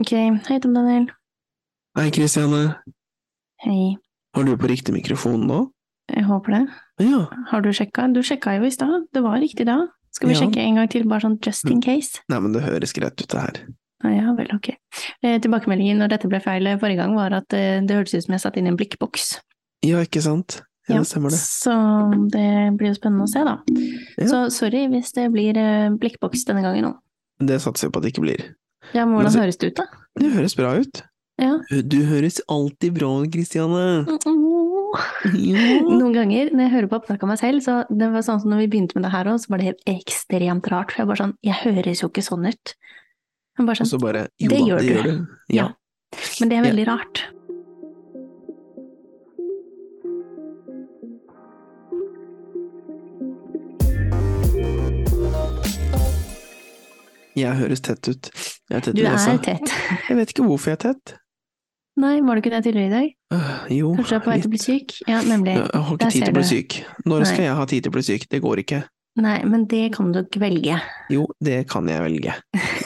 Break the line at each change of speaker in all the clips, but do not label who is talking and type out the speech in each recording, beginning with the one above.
Ok, hei Tom Daniel.
Hei, Kristiane.
Hei,
Har du på riktig mikrofon nå?
jeg håper det.
Ja.
Har du sjekka? Du sjekka jo i stad, det var riktig da. Skal vi
Ja. Mm.
sjekke en gang til, bare sånn just in case?
Nei, men det høres greit ut, det her.
Ah, ja vel, ok. Eh, tilbakemeldingen når dette ble feil forrige gang, var at eh, det hørtes ut som jeg satt inn i en blikkboks.
Ja, ikke sant? Ja,
Ja.
det stemmer det.
Så det blir jo spennende å se, da.
Ja.
Så sorry hvis det blir eh, blikkboks denne gangen òg.
Det satser jeg på at det ikke blir.
Ja, men
Men
hvordan
altså-
høres det ut, da?
Det høres bra ut.
Ja.
Du høres alltid bra ut, Kristiane. Ja.
Noen ganger når jeg hører på opptak av meg selv, så det var sånn som når vi begynte med det her òg, så var det helt ekstremt rart. For jeg bare sånn Jeg høres jo ikke sånn ut. Men, bare
Og
sånn,
så bare Jo
Det
da,
gjør
det
du.
gjør du. Altså, Ja.
men det er veldig rart.
Jeg høres tett ut. Jeg er tett
Du
i nesa.
er tett.
Jeg vet ikke hvorfor jeg er tett.
Nei, var du ikke det tidligere i dag?
Øh, jo,
Kanskje du er på vei til å bli syk? Ja, nemlig.
Jeg har ikke
Der
tid
ser
til å bli
du.
syk. Når skal
Nei.
jeg ha tid til å bli syk? Det går ikke.
Nei, men det kan du ikke velge.
Jo, det kan jeg velge.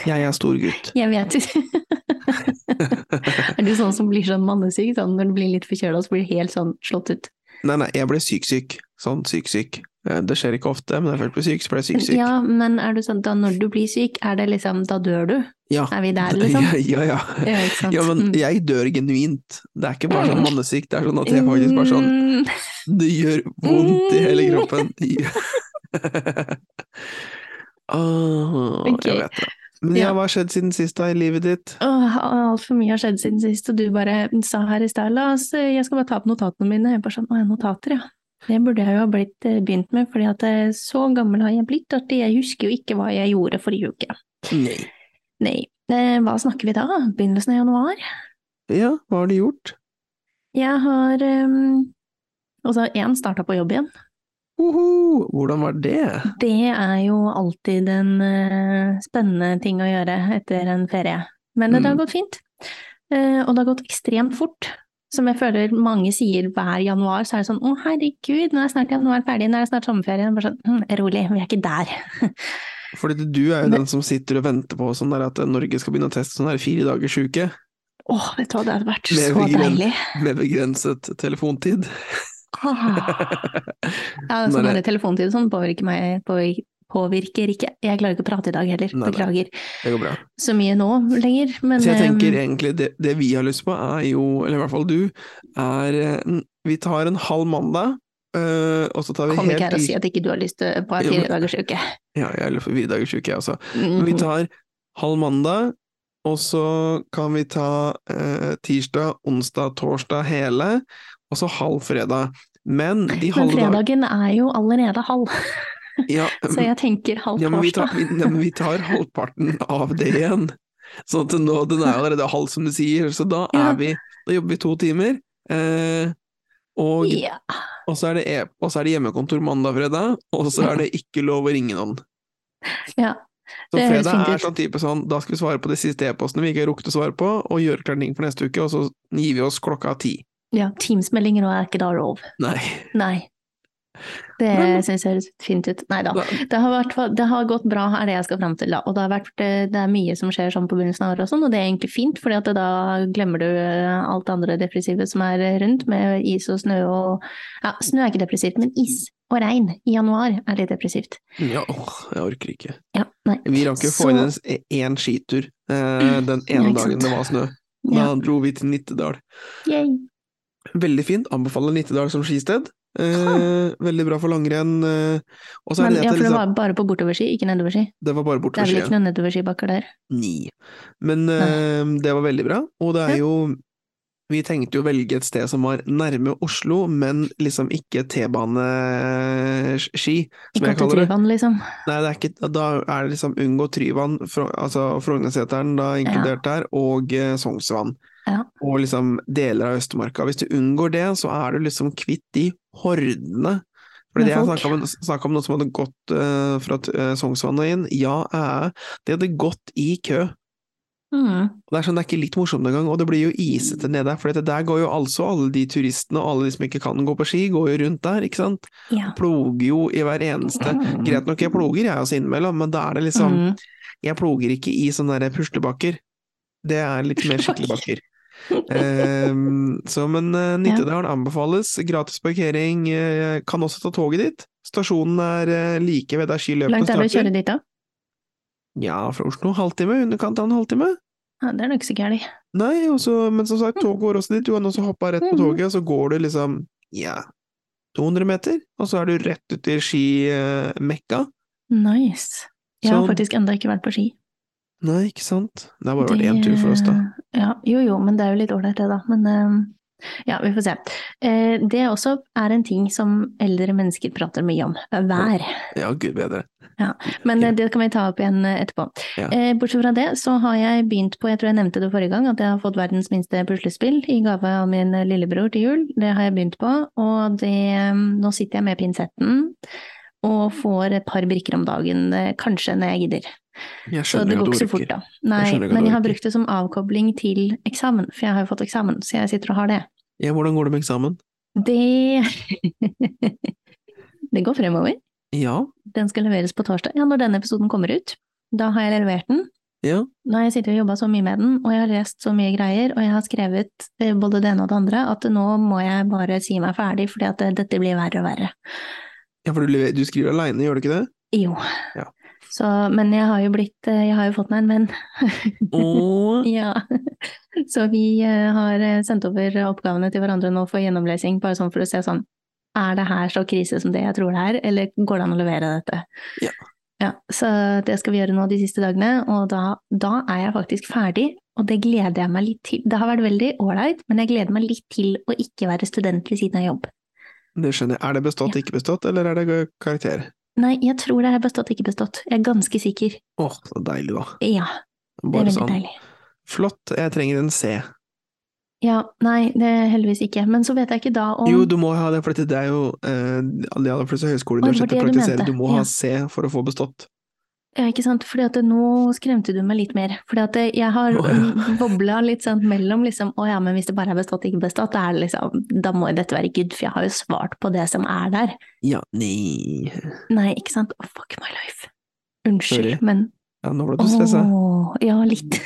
Jeg er stor gutt.
Jeg vet ikke. er du sånn som blir sånn mannesyk, sånn når du blir litt forkjøla, så blir du helt sånn slått ut?
Nei, nei, jeg ble syk-syk. Sånn syk-syk. Eh, Det skjer ikke ofte, men når jeg først ble syk, så ble jeg syk-syk.
Ja, men er du sånn da når du blir syk, er det liksom da dør du?
Ja.
Er vi der, liksom?
Ja, ja. ja.
Ja, ikke sant?
Ja, men
Mm.
jeg dør genuint. Det er ikke bare sånn mannesyk, det er sånn at jeg faktisk bare sånn
Mm,
Det gjør vondt i hele kroppen. Åh,
Ok.
Ah, Jeg vet det. Men ja,
Ja.
hva har skjedd siden sist da i livet ditt?
Åh, Altfor mye har skjedd siden sist, og du bare sa her i stad La oss, eh, jeg skal bare ta opp notatene mine. Jeg bare sånn, å, jeg har notater, ja. Det burde jeg jo ha blitt eh, begynt med, fordi at eh, så gammel har jeg blitt at jeg husker jo ikke hva jeg gjorde forrige uke.
Nei.
Nei. Eh, Hva snakker vi da? Begynnelsen av januar?
Ja, hva har du gjort?
Jeg har um, Altså, én starta på jobb igjen.
Woho! Hvordan var det?
Det er jo alltid en eh, spennende ting å gjøre etter en ferie. Men det, det har
Mm.
gått fint. Eh, og det har gått ekstremt fort. Som jeg føler mange sier hver januar, så er det sånn å herregud, nå er snart januar ferdig, nå er det snart sommerferie. Bare sånn, hm, rolig, vi er ikke der.
Fordi du er jo
Ne-
den som sitter og venter på sånn der at Norge skal begynne å teste sånn her fire dagers uke
Åh, vet du hva, det hadde vært
Det
så
er jo ikke
deilig.
med begrenset telefontid.
Ah. Ja,
Når
sånn
det-
er det telefontid, sånn påvirker meg, påvirker, påvirker ikke. Jeg klarer ikke å prate i dag heller,
Nei, nei.
beklager.
Det går bra.
så mye nå lenger, men
Så jeg tenker
eh,
egentlig det, det vi har lyst på er jo, eller i hvert fall du, er eh, n- Vi tar en halv mandag, øh, og så tar vi
kom
helt
ikke her og
i-
si at ikke du har lyst til på en
Jo, men-
fire dagers uke.
Ja, jeg er litt for fire dagers uke, jeg også. Men vi
Mm,
tar halv mandag, og så kan vi ta eh, tirsdag, onsdag, torsdag hele, og så halv fredag. Men de
Mm. Men
halve dag-
fredagen er jo allerede halv,
Ja,
så jeg tenker halv
ja, men vi tar,
torsdag.
vi, ja, men vi tar halvparten av det igjen. Sånn at nå, den er allerede halv, som du sier, så da
Ja.
er vi Da jobber vi to timer. Eh, og
Ja,
Og så er det, e og så er det hjemmekontor mandag og fredag, og så er det ikke lov å ringe noen.
ja.
Så
Det høres
fredag
fint
er
ut.
sånn type sånn, da skal vi svare på de siste e-postene vi ikke har rukket å svare på, og gjøre klart ting for neste uke, og så gir vi oss klokka ti.
ja Teams-meldinger nå er ikke da lov.
Nei.
Nei. Det
Men-
syns jeg høres fint ut. Nei da.
Da,
Det har, vært, det har gått bra, er det jeg skal fram til. Da. Og det, har vært, eh, det er mye som skjer sånn på begynnelsen av året og sånn, og det er egentlig fint, fordi at da glemmer du eh, alt det andre depressive som er rundt, med is og snø og Ja, snø er ikke depressivt, men is og regn i januar er litt depressivt.
ja, åh, jeg orker ikke.
Ja, nei.
Vi rakk jo å få
Så-
inn en s- én skitur eh, den
Ja,
ene
ikke sant.
dagen det var snø. Da
Ja.
dro vi til Nittedal.
Yay.
Veldig fint, anbefaler Nittedal som skisted. Eh, veldig bra for langrenn. Eh, og så er
Men,
det det
ja,
at
for
det,
det
liksom,
var bare på bortoverski, ikke nedoverski.
det var bare
Det er
bortover
vel
skien.
ikke noen nedoverskibakker der.
ni. Men eh, det var veldig bra, og det
Ja.
er jo Vi tenkte jo å velge et sted som var nærme Oslo, men liksom ikke T-baneski, som
Ikke opp
jeg
til
kaller det.
Tryvann, liksom.
Nei, det er ikke, da er det liksom unngå Tryvann, Fro- altså Frognerseteren da inkludert der, og eh, Sognsvann.
Ja.
Og liksom deler av Østmarka. Hvis du unngår det, så er du liksom kvitt de
Med
hordene. Fordi jeg
folk.
snakka om, snakket om noen som hadde gått eh, fra uh, Sognsvann og inn. Ja, eh, de hadde gått i kø.
Mm.
Og Det er sånn, det er ikke litt morsomt engang, og det blir jo isete nede der, for dette der går jo altså alle de turistene og alle de som ikke kan gå på ski, går jo rundt der, ikke sant?
Ja.
Ploger jo i hver eneste Greit nok, altså,
sånn-
jeg ploger jeg også innimellom, men da er det liksom
Mm. Mm.
Jeg ploger ikke i sånne der puslebakker. Det er litt mer skikkelig bakker. Ehm, så, men eh, Nittedal anbefales. Gratis parkering. eh, Kan også ta toget dit. Stasjonen er eh, like ved der skiløpene
Langt er det å
starter.
kjøre dit, da?
Ja, fra Oslo halvtime. Underkant av en halvtime.
Ja, det er nok ikke så gærent.
Nei, og så- men som
Mm.
sagt, tog går også dit. Du kan også hoppe av rett på
Mhm.
toget, og så går du liksom ja, 200 meter, og så er du rett ut i eh, skimekka.
Nice. Jeg har
Så-
faktisk enda ikke vært på ski.
Nei, ikke sant? Det har bare vært
Det-
én tur for oss, da.
Ja, jo jo, men det er jo litt ålreit det, da. Men eh, ja, vi får se. Eh, det også er en ting som eldre mennesker prater mye om. Vær.
Ja, gud bedre.
Men eh,
Ja.
det kan vi ta opp igjen eh, etterpå.
Ja.
Eh, bortsett fra det så har jeg begynt på, jeg tror jeg nevnte det forrige gang, at jeg har fått verdens minste puslespill i gave av min eh, lillebror til jul. Det har jeg begynt på, og det eh, Nå sitter jeg med pinsetten og får et par brikker om dagen, eh, kanskje når jeg gidder.
Jeg
Så det
skjønner
går
hva
ikke
du
så fort,
orker.
da. Nei,
skjønner ikke hva
men
du
jeg har
orker.
brukt det som avkobling til eksamen, for jeg har jo fått eksamen, så jeg sitter og har det.
Ja, hvordan går det med eksamen?
Det Det går fremover.
Ja,
Den skal leveres på torsdag. Ja, når denne episoden kommer ut, da har jeg levert den.
ja.
Nå har jeg sittet og jobba så mye med den, og jeg har lest så mye greier, og jeg har skrevet eh, både det ene og det andre, at nå må jeg bare si meg ferdig, fordi at eh, dette blir verre og verre.
Ja, for du, lever- du skriver aleine, gjør du ikke det?
Jo.
Ja.
Så, men jeg har jo blitt eh, Jeg har jo fått meg en venn.
Åh,
Ja, så vi eh, har eh, sendt over oppgavene til hverandre nå for gjennomlesing, bare sånn for å se sånn, er det her så krise som det jeg tror det er, eller går det an å levere dette?
Ja.
Ja, så det skal vi gjøre nå de siste dagene, og da, da er jeg faktisk ferdig, og det gleder jeg meg litt til. Det har vært veldig ålreit, men jeg gleder meg litt til å ikke være student ved siden av jobb.
det skjønner jeg. Er det bestått, ikke bestått, eller er det karakter?
Nei, jeg tror det er bestått, ikke bestått. Jeg er ganske sikker.
Åh, så deilig, da.
Ja, det er
Bare
veldig
sånn.
deilig.
Flott, jeg trenger en C.
Ja, nei, det er heldigvis ikke, men så vet jeg ikke da om...
Jo, du må ha det, for det er jo eh, de aller fleste høyskoler
Oi,
og
det var
universiteter
det du
praktiserer.
mente.
Du må
Ja.
ha C for å få bestått.
Ja, ikke sant? Fordi at nå skremte du meg litt mer. Fordi at jeg har
Å, ja.
bobla litt sånn mellom liksom Å ja, men hvis det bare er bestått, ikke bestått, da er det liksom Da må jo dette være good, for jeg har jo svart på det som er der.
Ja, nei
Nei, ikke sant? Å, fuck my life. Unnskyld,
Sorry.
men
Ja, nå ble du stressa.
Åh, ja, litt.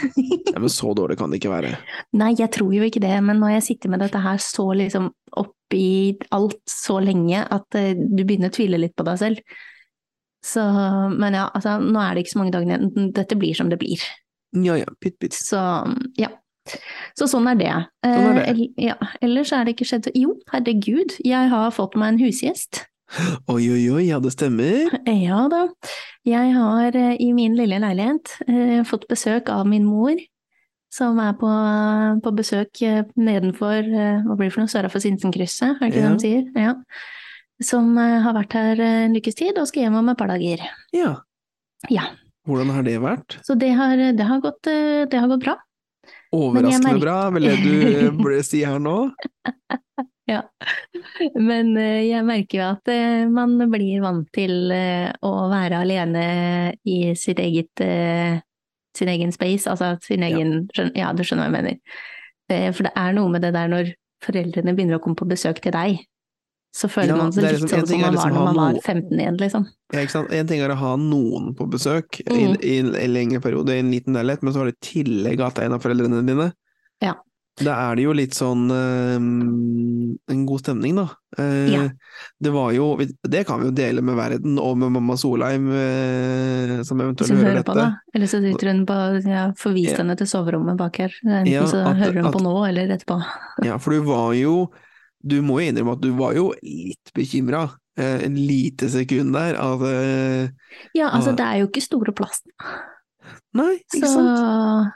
Ja, men så dårlig kan det ikke være.
Nei, jeg tror jo ikke det, men når jeg sitter med dette her så liksom oppi alt så lenge at eh, du begynner å tvile litt på deg selv. Så, men ja, altså, nå er det ikke så mange dagene igjen. Dette blir som det blir.
Ja ja, pytt pytt.
Så ja. Så sånn er det.
Sånn er det.
Eh, el- ja. Ellers er det ikke skjedd så Jo, herregud, jeg har fått meg en husgjest.
Oi oi oi, ja det stemmer.
Eh, Ja da. Jeg har eh, i min lille leilighet eh, fått besøk av min mor, som er på, på besøk eh, nedenfor eh, Hva blir det for noe? Søra for Sinsenkrysset, er det ikke
Ja.
det de sier? Ja. Som eh, har vært her eh, en ukes tid og skal hjem om et par dager.
Ja.
Ja.
Hvordan har det vært?
Så det har, det har, gått, eh, det har gått bra.
Overraskende
merker-
bra, vil det du eh, burde si her nå?
Men eh, jeg merker jo at eh, man blir vant til eh, å være alene i sitt eget eh, sin egen space, altså sin
Ja.
egen skjøn- Ja, du skjønner hva jeg mener. Eh, For det er noe med det der når foreldrene begynner å komme på besøk til deg, så føler
Ja,
man seg
det er
litt
liksom- en
sånn
ting
som
er
man
liksom
var når
å ha
man var
noe-
15 igjen, liksom.
Ja, ikke sant? En ting er å ha noen på besøk i,
Mm.
i, en, i en lengre periode, i en liten leilighet, men så har du i tillegg hatt en av foreldrene dine.
Ja.
Da er det jo litt sånn eh, en god stemning, da. Eh,
Ja.
Det var jo Det kan vi jo dele med verden og med mamma Solheim, eh, som eventuelt
Som
hører
hører på,
dette.
da. Eller så sitter hun på Jeg har forvist
Ja.
henne til soverommet bak her. Enten
Ja,
så
at-
hører hun
at-
på nå, eller etterpå.
Ja, for du var jo Du må jo innrømme at du var jo litt bekymra. Eh, en lite sekund der at eh,
Ja, altså,
Ja.
det er jo ikke store plassen,
Nei, ikke
så
sant?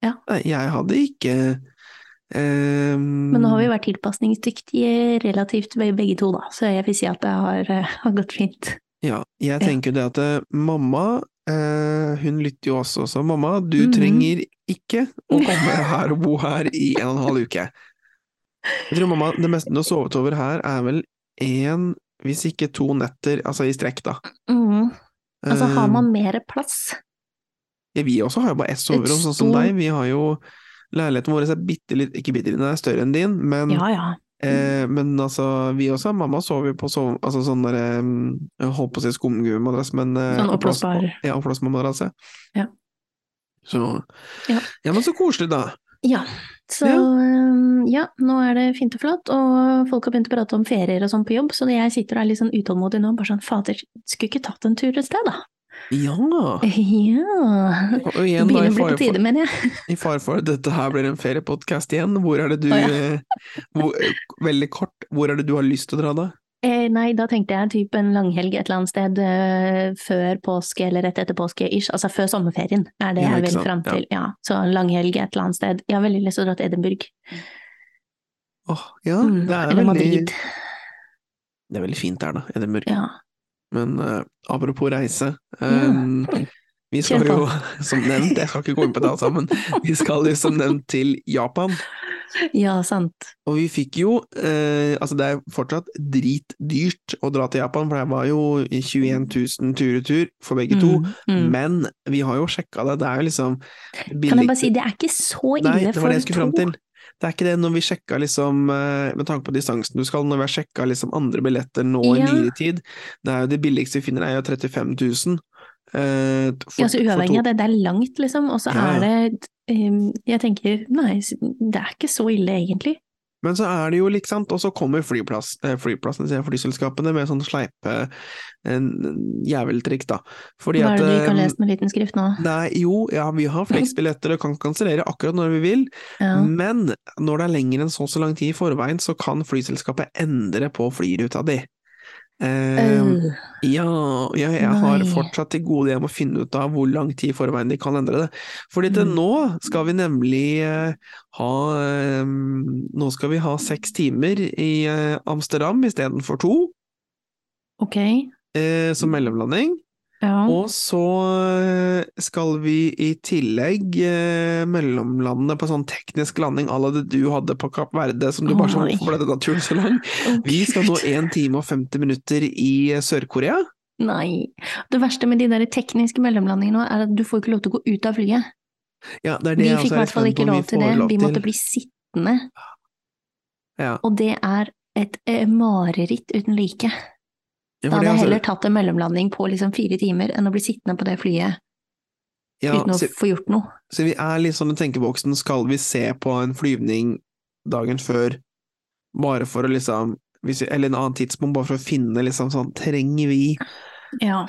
Nei, jeg hadde ikke eh,
Men nå har vi vært tilpasningsdyktige relativt be- begge to, da, så jeg vil si at det har, eh, har gått fint.
eh, Ja, jeg
Ja.
tenker det at eh, mamma, eh, hun lytter jo også, så mamma, du
Mhm.
trenger ikke å komme her og bo her i en og en halv uke. Jeg tror mamma, det meste hun har sovet over her er vel én, hvis ikke to netter, altså i strekk, da.
Altså, har
Eh,
man mer plass?
ja, vi også har jo bare ett soverom, sånn som
stor-
deg. Vi har jo Leiligheten vår er bitte litt, ikke bitte litt, den er større enn din, men
Ja ja.
Eh, men altså, vi også, mamma sover jo på sove, altså sånn der, eh, holdt på å si skumgummimadrass, men eh,
Sånn
oppblås-
oppblåsbar.
Ja, oppblåsbar madrass, ja.
Ja.
Så
Ja.
ja, men så koselig, da.
Ja. Så
Ja.
øhm, ja, nå er det fint og flott, og folk har begynt å prate om ferier og sånn på jobb, så jeg sitter og er litt sånn utålmodig nå, bare sånn fader, skulle ikke tatt en tur et sted, da?
Ja.
Ja.
Og igjen, da, i
Bilen blir
fare
på tide,
for,
mener jeg.
i fare for at dette her blir en feriepodkast igjen, hvor er det du
Å, ja.
eh, hvor, Veldig kort, hvor er det du har lyst til å dra, da?
Eh, nei, da tenkte jeg typ en langhelg et eller annet sted øh, før påske eller rett etter påske, ish. Altså før sommerferien er det
Ja,
jeg
ikke
vil
sant,
fram
ja.
til. Ja. Så en langhelg et eller annet sted. Jeg har veldig lyst til å dra til Edinburgh.
Åh, ja,
Mm,
Ah, det er
eller
veldig,
Madrid.
det er veldig fint der, da, Edinburgh.
Ja.
Men eh, apropos reise eh, Vi skal
Kjør på.
jo, som nevnt, jeg skal ikke gå inn på det alt sammen, vi skal jo som nevnt til Japan.
ja, sant.
Og vi fikk jo eh, Altså, det er fortsatt dritdyrt å dra til Japan, for det var jo 21 000 tur-retur for begge to.
Mm, mm.
Men vi har jo sjekka det, det er jo liksom
Kan jeg bare si, det er ikke så ille
Nei, det var
for
det jeg skulle fram
to.
til. Det er ikke det når vi sjekka liksom eh, Med tanke på distansen du skal, når vi har sjekka liksom andre billetter nå i
Ja.
nyere tid, det er jo det billigste vi finner, er jo 35 000. eh, for-
Ja, så uavhengig av
for to-
det, det er langt, liksom, og så
Ja, ja.
er det ehm, Jeg tenker, nei, s- det er ikke så ille, egentlig.
Men så er det jo, ikke sant, og så kommer flyplass, eh, flyplassene, sier jeg, flyselskapene med sånn sleipe en- jæveltriks, da. Fordi
Hva er det du
at,
ikke har
eh,
lest med liten skrift nå?
Nei, jo, ja, vi har fleksbilletter og kan kansellere akkurat når vi vil,
Ja.
men når det er lenger enn så og så lang tid i forveien, så kan flyselskapet endre på flyruta di. Eh,
Øh,
Ja, jeg, jeg har
Nei.
fortsatt til gode jeg må finne ut av hvor lang tid i forveien de kan endre det. Fordi til
Mm.
nå skal vi nemlig eh, ha eh, Nå skal vi ha seks timer i eh, Amsterdam istedenfor to,
ok,
eh, som
Mm.
mellomlanding.
ja.
Og så eh, skal vi i tillegg eh, mellomlande på sånn teknisk landing à la det du hadde på Kapp Verde, som du
Å,
bare sånn
nei.
Hvorfor ble denne turen så lang?
Å,
Vi skal nå
Gud.
1 time og 50 minutter i eh, Sør-Korea.
Nei. Det verste med de der tekniske mellomlandingene nå, er at du får ikke lov til å gå ut av flyet.
Ja, det er altså det
Vi
jeg
fikk i
også er
hvert fall
spent på
ikke
om
lov til det.
får lov
Vi måtte
til.
bli sittende.
Ja.
Og det er et eh, mareritt uten like.
Ja,
Da
for
hadde
det,
jeg
altså-
heller tatt en mellomlanding på liksom fire timer enn å bli sittende på det flyet
ja,
uten å
så,
få gjort noe.
så vi er litt sånn i tenkeboksen, skal vi se på en flyvning dagen før, bare for å liksom hvis vi, Eller en annen tidspunkt, bare for å finne liksom sånn Trenger vi
Ja,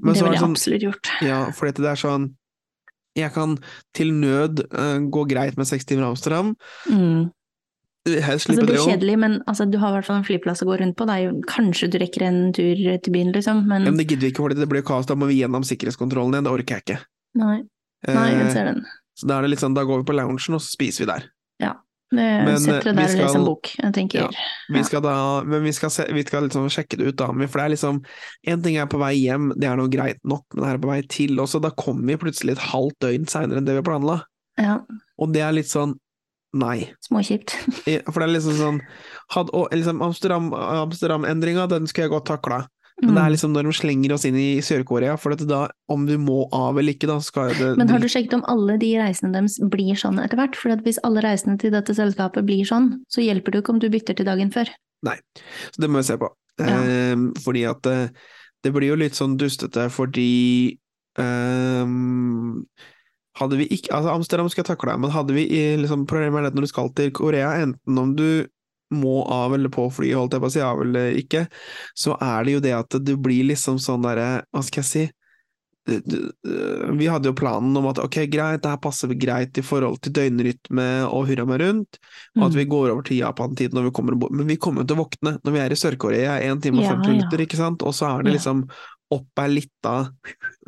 Men
det
så
ville
er det
jeg
sånn
absolutt gjort.
Ja, for dette det er sånn Jeg kan til nød eh, gå greit med seks timer Amsterdam,
Mm. Altså,
helst
det
slippe det
blir
òg.
kjedelig, men altså, du har i hvert fall en flyplass å gå rundt på. Det er jo, kanskje du rekker en tur til byen, liksom, men
Men det gidder vi ikke, for det blir jo kaos. Da må vi gjennom sikkerhetskontrollen igjen, det orker jeg ikke.
nei, nei,
Eh,
jeg ser den.
så da er det litt sånn, da går vi på loungen, og så spiser vi der.
Det,
men,
setter deg der
eh, vi
og leser
skal-
en bok, jeg tenker.
Ja. Vi skal da, men vi skal, se, vi skal liksom sjekke det ut, da. Men For det er liksom En ting er på vei hjem, det er noe greit nok, men det er på vei til også. Da kommer vi plutselig et halvt døgn seinere enn det vi planla.
Ja,
Og det er litt sånn Nei.
småkjipt.
Eh, For det er liksom sånn had, og, liksom Amsterdam- Amsterdam-endringa, den skulle jeg godt takla.
Mm.
Men det er liksom når de slenger oss inn i Sør-Korea, for at da, om vi må av eller ikke, da skal jo det
Men har du sjekket om alle de reisene deres blir sånn etter hvert? For at hvis alle reisene til dette selskapet blir sånn, så hjelper det jo ikke om du bytter til dagen før.
Så det må vi se på.
Ja.
Ehm, fordi at eh, det blir jo litt sånn dustete fordi ehm, Hadde vi ikke Altså, Amsterdam skal jeg takle deg, men hadde vi i- liksom, Problemet er det at når du skal til Korea, enten om du må av eller på flyet, holdt jeg på å si, av eller ikke, så er det jo det at du blir liksom sånn derre Hva skal jeg si? Du- du- øh, Vi hadde jo planen om at ok, greit, det her passer greit i forhold til døgnrytme og hurra meg rundt. Og
Mm.
at vi går over til Japan-tid når vi kommer bort. Men vi kommer jo til å våkne når vi er i Sør-Korea i 1 time og
Ja,
50
ja.
minutter, ikke sant? Og så er det
Ja.
liksom opp er lita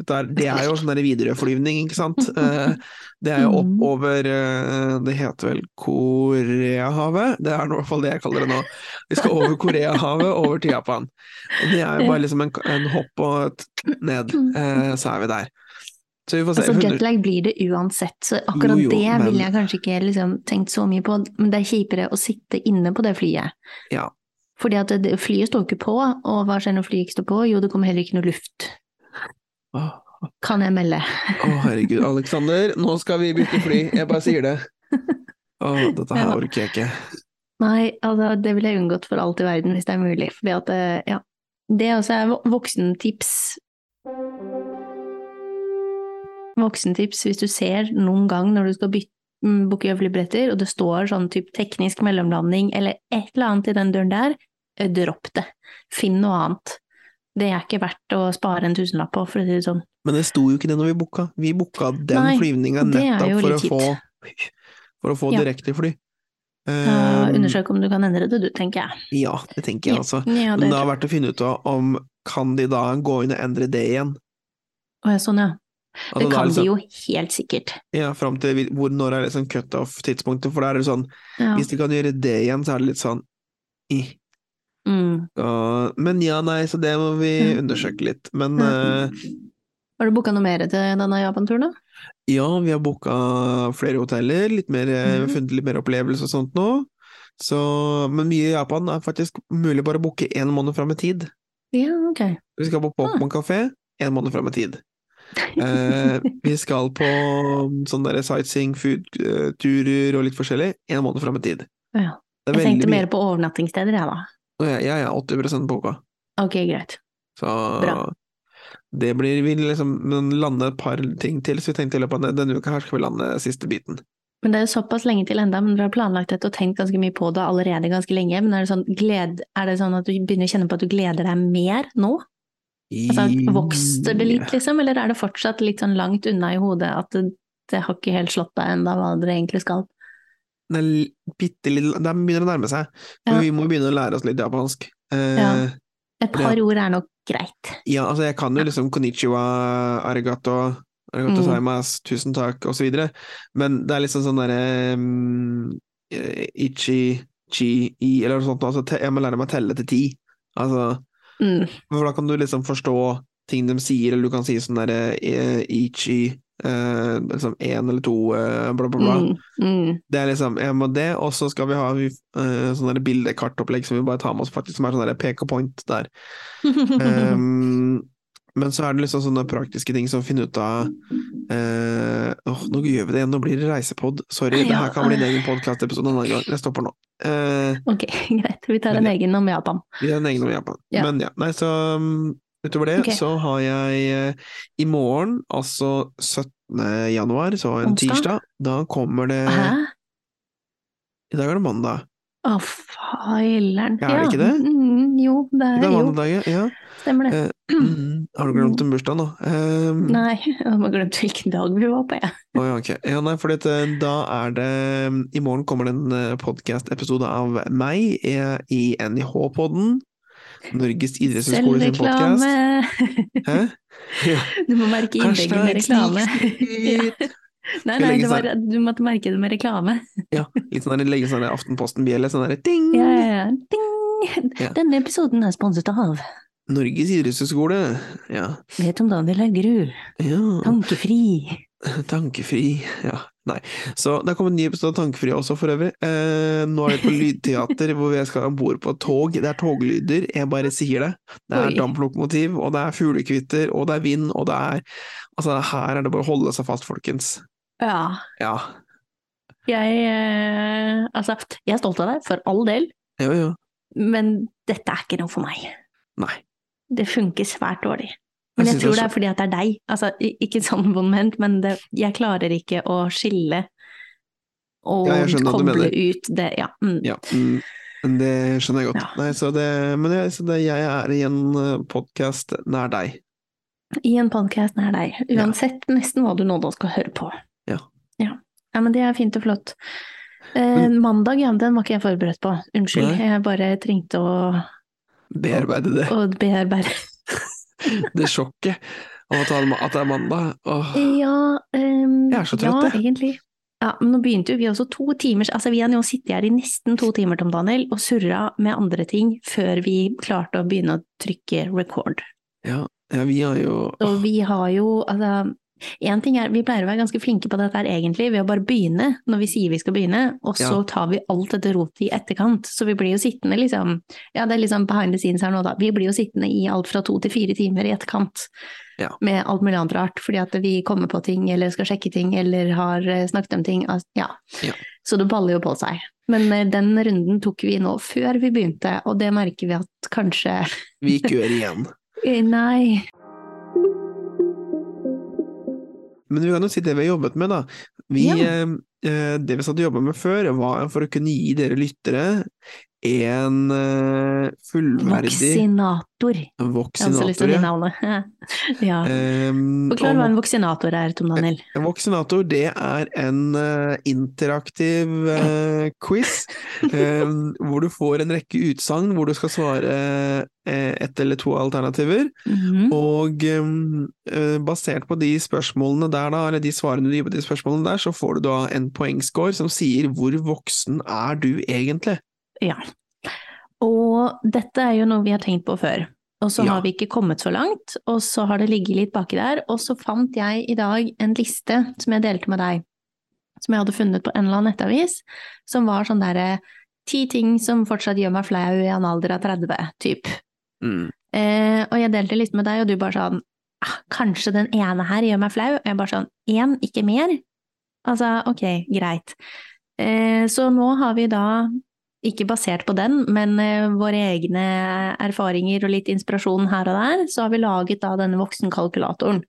der, Det er jo sånn der Widerøe-flyvning, ikke sant? Eh, Det er jo
Mhm.
oppover eh, Det heter vel Koreahavet? Det er i hvert fall det jeg kaller det nå. Vi skal over Koreahavet, over til Japan. Og det er jo bare liksom en, en hopp og et ned, eh, så er vi der. Så vi får se.
Altså jetlag blir det uansett, så akkurat
Jo, jo,
det
men-
ville jeg kanskje ikke liksom, tenkt så mye på, men det er kjipere å sitte inne på det flyet.
Ja.
Fordi at det, flyet står ikke på, og hva skjer når flyet ikke står på? Jo, det kommer heller ikke noe luft,
Åh,
kan jeg melde.
Å, herregud, Alexander, nå skal vi bytte fly. Jeg bare sier det. Å, dette her
Ja.
orker jeg ikke.
Nei, altså det ville jeg unngått for alt i verden hvis det er mulig, fordi at eh, ja. Det også er vo- voksentips. voksentips hvis du ser noen gang når du skal byt- mm, booke flybilletter, og det står sånn type teknisk mellomlanding eller et eller annet i den døren der, eh, dropp det. Finn noe annet. Det er ikke verdt å spare en tusenlapp på, for å si det sånn.
Men det sto jo ikke det når vi booka. Vi booka den
Nei,
flyvninga
og det er
nettopp
jo
for å
litt
få, for å få
Ja.
direktefly.
Da
Ehm,
Undersøk om du kan endre det, du, tenker jeg.
ja, det tenker jeg altså.
Ja,
Men
det
det har vært å finne ut av om kan de da gå inn og endre det igjen.
Å, ja, sånn, ja.
Altså,
Det
da er
kan
liksom-
de jo helt sikkert.
Ja, fram til vi- hvor når er liksom cutoff-tidspunktet, for da er det sånn
Ja.
Hvis de kan gjøre det igjen, så er det litt sånn ih.
Mm.
Og- Men ja, nei, så det må vi
Ja.
undersøke litt. Men
Ja.
eh,
Har du booka noe mer til denne Japan-turen, da?
ja, vi har booka flere hoteller, litt mer, eh,
Mhm.
funnet litt mer opplevelse og sånt nå. Så, men mye i Japan er faktisk mulig bare å booke én måned fram i tid.
Ja, ok.
Vi skal på
Ah.
Pokémon kafé én måned fram i tid. Eh, vi skal på sånne der sightseeing, food-turer og litt forskjellig én måned fram i tid.
Ja.
Det er
Jeg tenkte
veldig mye-
mer på overnattingssteder, jeg, da.
Å, Ja, ja, ja 80 boka.
Ok, greit.
Så
Bra.
det blir Vi liksom men lande et par ting til, så vi tenkte i løpet av denne uka her skal vi lande siste biten.
Men det er jo såpass lenge til enda, men dere har planlagt dette og tenkt ganske mye på det allerede ganske lenge. Men er det sånn, gled, er det sånn at du begynner å kjenne på at du gleder deg mer nå? Altså, vokser det litt, liksom, eller er det fortsatt litt sånn langt unna i hodet at det, det har ikke helt slått deg ennå hva dere egentlig skal?
Det er li- bitte litt Det begynner å nærme seg. For
Ja.
vi må begynne å lære oss litt japansk. Eh, ja.
Ja. Et par ord er nok greit.
altså jeg kan jo liksom konnichiwa, arigato, arigato
Mm.
saimas, tusen takk, og så videre. Men det er liksom sånn derre mm, eh, ichi, chi, i, eller noe sånt. Altså, te, jeg må lære meg å telle til ti. Altså
Mm.
For da kan du liksom forstå ting de sier, eller du kan si sånn derre eh, ichi, eh, liksom én eller to, eh, bla, bla, bla.
Mm. Mm.
Det er liksom jeg må det, og så skal vi ha eh, sånn derre bildekartopplegg som vi bare tar med oss, faktisk, som er sånn derre pek og point der. Ehm, men så er det liksom sånne praktiske ting som å finne ut av eh, Åh, nå gjør vi det igjen, nå blir det reisepod. Sorry, det
Ja.
her kan bli en egen podkastepisode en annen gang. Jeg stopper nå. Eh,
ok, greit. Vi tar en egen om Japan.
vi har en egen om Japan.
Ja.
Men ja, nei, så um, utover det
Ok.
så har jeg eh, i morgen, altså 17. januar, så en
Onsdag?
tirsdag, da kommer det
Hæ?
I dag er det mandag.
Å, faileren.
Ja, er det ikke det?
Mm, jo, det
I
er
dag er
jo.
mandag, ja.
Stemmer det.
Eh, Mm, har du glemt en bursdag nå? Um,
Nei, jeg har bare glemt hvilken dag vi var på, jeg.
å ja, ok. Ja, nei, for da er det I morgen kommer det en podkast-episode av meg eh, i NIH-podden. Norges idrettshøgskole sin podkast. Hæ? Ja.
Du må merke innlegget med
Hashtag
reklame.
snik,
Ja.
snik.
Nei,
Skal
nei,
legge
det var, du måtte merke det med reklame.
Litt sånn der, legge sånn der Aftenposten-bjelle, sånn der ding!
Ja, ja, ja. Ding!
Ja.
Denne episoden er sponset av
Norges idrettshøgskole. Ja.
Vet om Daniel Haugerud.
ja.
Tankefri.
Tankefri. Ja. Nei. Så det har kommet en ny episode av Tankefri også, for øvrig. Eh, nå er det på lydteater, hvor jeg skal om bord på et tog. Det er toglyder, jeg bare sier det. Det er
Oi.
damplokomotiv, og det er fuglekvitter, og det er vind, og det er Altså, her er det bare å holde seg fast, folkens.
Ja.
Ja.
Jeg eh, Altså, jeg er stolt av deg, for all del,
Jo, jo.
men dette er ikke noe for meg.
Nei.
Det funker svært dårlig. Men jeg
synes
tror det
også-
er fordi at det er deg. Altså, i- ikke sånn vond ment, men det, jeg klarer ikke å skille og
Ja, jeg skjønner hva du
koble
mener.
ut det. Ja. Mm.
Ja, mm, men det skjønner jeg godt.
Ja.
Nei, så det, men det, så det, jeg er i en podkast nær deg.
I en podkast nær deg. Uansett nesten hva du nå da skal høre på.
Ja.
Ja, ja men det er fint og flott. Eh, mandag, ja, den var ikke jeg forberedt på. Unnskyld.
Nei.
Jeg bare trengte å,
Bearbeide det,
å bearbeide
det sjokket om at, han, at det er mandag. Åh,
Mm. Ja, ehm,
Jeg er så trøtt,
ja,
jeg.
egentlig. Ja, men nå begynte jo vi også to timer, altså vi har nå sittet her i nesten to timer, Tom Daniel, og surra med andre ting før vi klarte å begynne å trykke record.
ja, vi har jo
Og vi har jo, altså, en ting er, vi pleier å være ganske flinke på dette her egentlig, ved å bare begynne når vi sier vi skal begynne, og så
Ja.
tar vi alt dette rotet i etterkant. Så vi blir jo sittende liksom, ja det er liksom behind the scenes her nå da, vi blir jo sittende i alt fra to til fire timer i etterkant.
Ja.
Med alt mulig annet rart, fordi at vi kommer på ting, eller skal sjekke ting, eller har eh, snakket om ting. altså, Ja.
Ja.
Så det baller jo på seg. Men eh, den runden tok vi nå før vi begynte, og det merker vi at kanskje
Vi ikke gjør igjen.
Eh, Nei.
Men vi kan jo si det vi har jobbet med, da. Vi,
Ja.
eh, eh, det vi satt og jobba med før, var for å kunne gi dere lyttere en eh, fullverdig
Voksinator. Jeg har også lyst til
voksinator.
å si
ja.
navnet. ja.
Ehm,
Forklar
og
hva en voksinator er, Tom Daniel.
en voksinator, det er en eh, interaktiv eh, quiz eh, hvor du får en rekke utsagn hvor du skal svare eh, ett eller to alternativer.
Mhm.
Eh, Og um, eh, basert på de spørsmålene der, da, eller de svarene du gir på de spørsmålene der, så får du da en poengscore som sier hvor voksen er du egentlig?
Og dette er jo noe vi har tenkt på før. Og så
Ja.
har vi ikke kommet så langt, og så har det ligget litt baki der. Og så fant jeg i dag en liste som jeg delte med deg, som jeg hadde funnet på en eller annen nettavis, som var sånn derre ti ting som fortsatt gjør meg flau i en alder av 30, typ. Eh, og jeg delte litt med deg, og du bare sånn ah, Kanskje den ene her gjør meg flau? Og jeg bare sånn Én, ikke mer? Altså, ok, greit. Eh, så nå har vi da, ikke basert på den, men eh, våre egne erfaringer og litt inspirasjon her og der, så har vi laget da denne voksenkalkulatoren.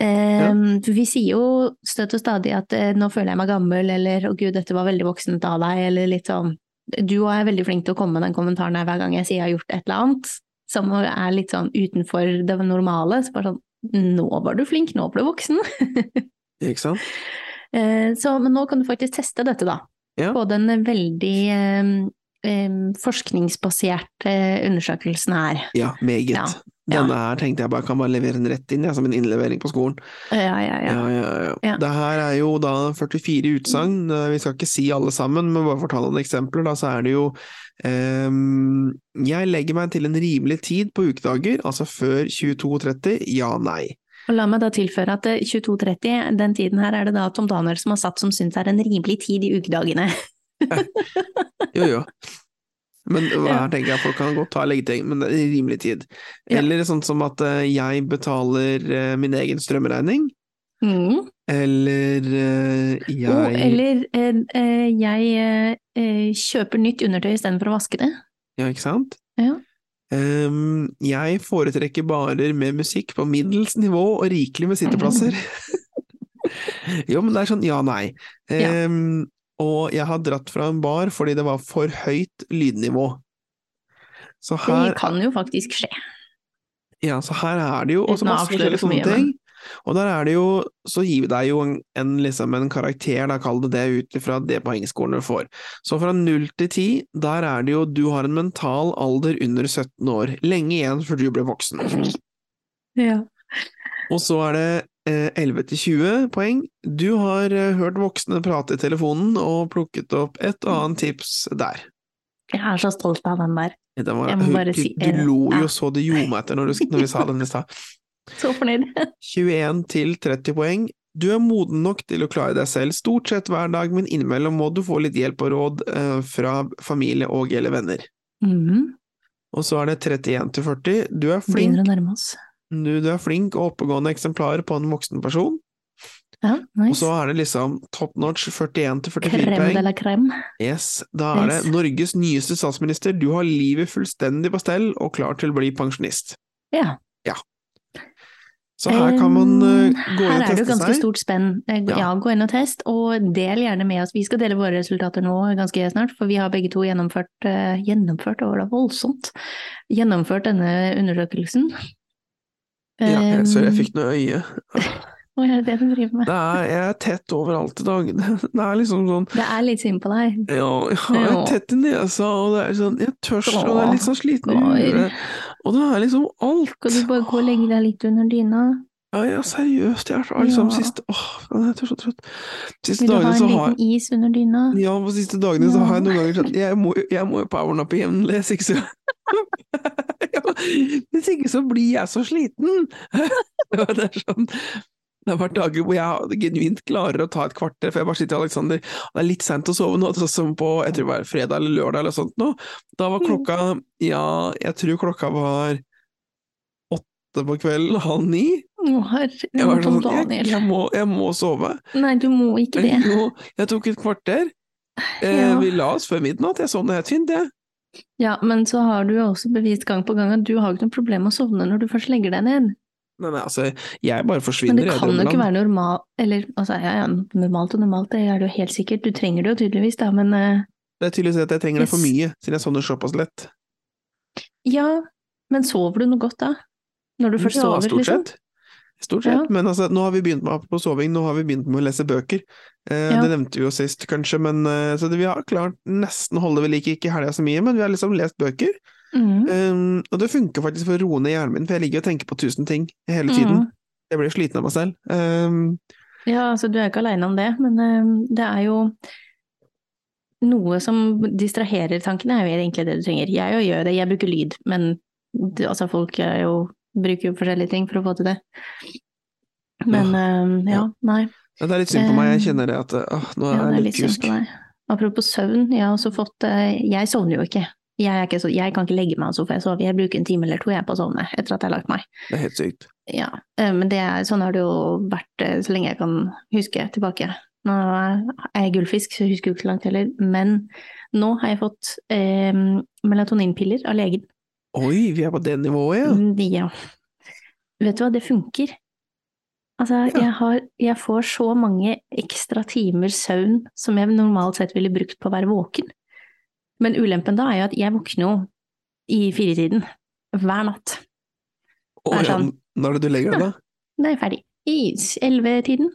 Eh,
Ja.
for Vi sier jo støtt og stadig at eh, 'nå føler jeg meg gammel', eller 'å gud, dette var veldig voksent av deg', eller litt sånn. Du og jeg er veldig flink til å komme med den kommentaren her hver gang jeg sier jeg har gjort et eller annet som er litt sånn utenfor det normale. Så bare sånn 'nå var du flink, nå ble du voksen'.
Ikke sant?
Eh, Så, men nå kan du faktisk teste dette, da.
Ja.
På den veldig eh, eh, forskningsbaserte eh, undersøkelsen her.
Ja, meget.
Ja, ja.
Denne her tenkte jeg bare kan bare levere den rett inn, jeg, som en innlevering på skolen.
Ja, ja, ja.
Ja, ja, ja.
Ja.
Det her er jo da 44 utsagn, eh, vi skal ikke si alle sammen, men bare for å ta noen eksempler, da så er det jo ehm, Jeg legger meg til en rimelig tid på ukedager, altså før 22.30, ja, nei.
Og la meg da tilføye at eh, 22.30, den tiden her er det da Tom Daniel som har satt som syns er en rimelig tid i ukedagene.
Jo, jo. Men hva-
Ja.
her tenker jeg folk kan godt ta leggeting, men det er i rimelig tid.
Ja.
Eller sånn som at eh, jeg betaler eh, min egen strømregning,
Mm.
eller eh, jeg
Og, eller eh, eh, jeg eh, eh, kjøper nytt undertøy istedenfor å vaske det.
Ja, ikke sant?
Ja.
Ehm, jeg foretrekker barer med musikk på middels nivå og rikelig med sitteplasser. jo, men det er sånn ja, nei.
Ja.
Ehm, Og jeg har dratt fra en bar fordi det var for høyt lydnivå. Så
Det
her
kan jo faktisk skje.
Ja, så her er det jo Og så
Uten å
masse
avsløre
flere
for
sånne
mye,
ting. Og der er det jo Så gir vi deg jo en, en, liksom en karakter, da kall det det, ut fra det poengskolen du får. Så fra null til ti, der er det jo Du har en mental alder under 17 år. Lenge igjen før du blir voksen.
Ja.
Og så er det eh, 11 til 20 poeng. Du har eh, hørt voksne prate i telefonen og plukket opp et og annet tips der.
Jeg er så stolt av den der.
Den var,
Jeg må bare
du,
si-
du lo
Ja.
jo så det gjorde meg etter når, du, når vi sa den i stad.
Så fornøyd.
21 til 30 poeng. Du er moden nok til å klare deg selv stort sett hver dag, men innimellom må du få litt hjelp og råd eh, fra familie og eller venner.
Mhm.
Og så er det 31 til 40. Du er flink,
Begynner å nærme oss.
du, du er flink og oppegående eksemplar på en voksen person.
Ja,
Og
nice.
så er det liksom top notch 41 til 44
Krem de
poeng.
la krem.
Yes, da er det
Nice.
Norges nyeste statsminister, du har livet fullstendig på stell og klar til å bli pensjonist.
Ja.
Så her kan man eh, gå
Her er
inn og
det jo
teste
ganske
seg.
stort spenn. Eh,
Ja.
Ja. gå inn og test, og del gjerne med oss. Vi skal dele våre resultater nå ganske snart, for vi har begge to gjennomført, eh, gjennomført, og det er voldsomt, gjennomført denne undersøkelsen.
Ja, jeg, sorry, jeg
Eh,
fikk noe i øyet.
Hva er det du driver med?
Det er, jeg er tett overalt i dag. Det er liksom sånn
Det er litt synd på deg.
ja, Jeg er tett i nesa, og det er sånn Jeg er tørst, og det er litt sånn sliten i huet. Og det er liksom alt.
Skal du bare gå og legge deg litt under dyna?
Ja, ja, seriøst. Jeg er så liksom
Ja.
siste Åh, jeg er så trøtt. Siste
Vil du ha
dagene
en
så har
liten is under dyna?
ja, på siste dagene så
Ja.
har jeg noen ganger skjønt Jeg må jo- jeg må jo powernappe jevnlig, hvis ikke så ja, Hvis ikke så blir jeg så sliten! Og det er sånn Det har vært dager hvor jeg genuint klarer å ta et kvarter, for jeg bare sitter i Alexander og Det er litt sent å sove nå, sånn som på jeg tror det var fredag eller lørdag eller sånt nå. Da var klokka Ja, jeg tror klokka var åtte på kvelden, halv ni.
Å, herre,
Jeg var
Tom
sånn Jeg,
Daniel.
jeg, må, jeg må sove.
Nei, du må ikke det.
Jo, jeg tok et kvarter. Eh,
Ja.
Vi la oss før midnatt, jeg sovnet helt fint, jeg.
Ja, men så har du jo også bevist gang på gang at du har ikke noe problem med å sovne når du først legger deg ned.
Nei, nei, altså, jeg bare
Men
forsvinner
det
i
kan jo ikke
drømmeland.
være normal, eller altså, ja, ja, normalt og normalt, det er det jo helt sikkert. Du trenger det jo tydeligvis, da, men eh,
Det er tydeligvis at jeg trenger det for
Yes.
mye, siden jeg sovner såpass lett.
ja, men sover du noe godt da? Når du først
Ja,
sover,
stort
liksom?
sett. Stort sett.
Ja.
Men altså, nå har vi begynt med apropos soving, nå har vi begynt med å lese bøker. Eh,
Ja.
Det nevnte vi jo sist, kanskje, men eh, så det, vi har klart nesten å holde ved like, ikke i helga så mye, men vi har liksom lest bøker.
Mm.
Um, og det funker faktisk for å roe ned hjernen min, for jeg ligger og tenker på tusen ting Eh, hele tiden.
Mm.
Jeg blir sliten av meg selv. Um,
Ja, altså du er ikke aleine om det, men eh, det er jo noe som distraherer tankene, er jo egentlig det du trenger. Jeg jo gjør det, jeg bruker lyd, men du, altså folk er jo, bruker jo forskjellige ting for å få til det. Men eh, ja,
Ja.
nei.
ja, det er litt synd på meg, jeg
Um,
kjenner det at åh, nå
Ja,
er
det
jeg
er
litt
litt synd
pjusk.
på deg. Apropos søvn, jeg har også fått eh, Jeg sovner jo ikke. Jeg, er ikke så, jeg kan ikke legge meg altså, for jeg sover. Jeg bruker en time eller to jeg på å sovne etter at jeg har lagt meg.
Det er helt sykt.
Ja, eh, Men det er, sånn har det jo vært eh, så lenge jeg kan huske tilbake. Nå er jeg gullfisk, så jeg husker jo ikke så langt heller. Men nå har jeg fått eh, melatoninpiller av legen.
Oi, vi er på det nivået, ja.
Mm, Ja. Vet du hva, det funker. Altså,
Ja.
jeg, har, jeg får så mange ekstra timer søvn som jeg normalt sett ville brukt på å være våken. Men ulempen da er jo at jeg våkner jo i firetiden hver natt.
Å,
det er
ja.
sånn.
Når er det du legger deg, da?
Da er jeg ferdig. I ellevetiden.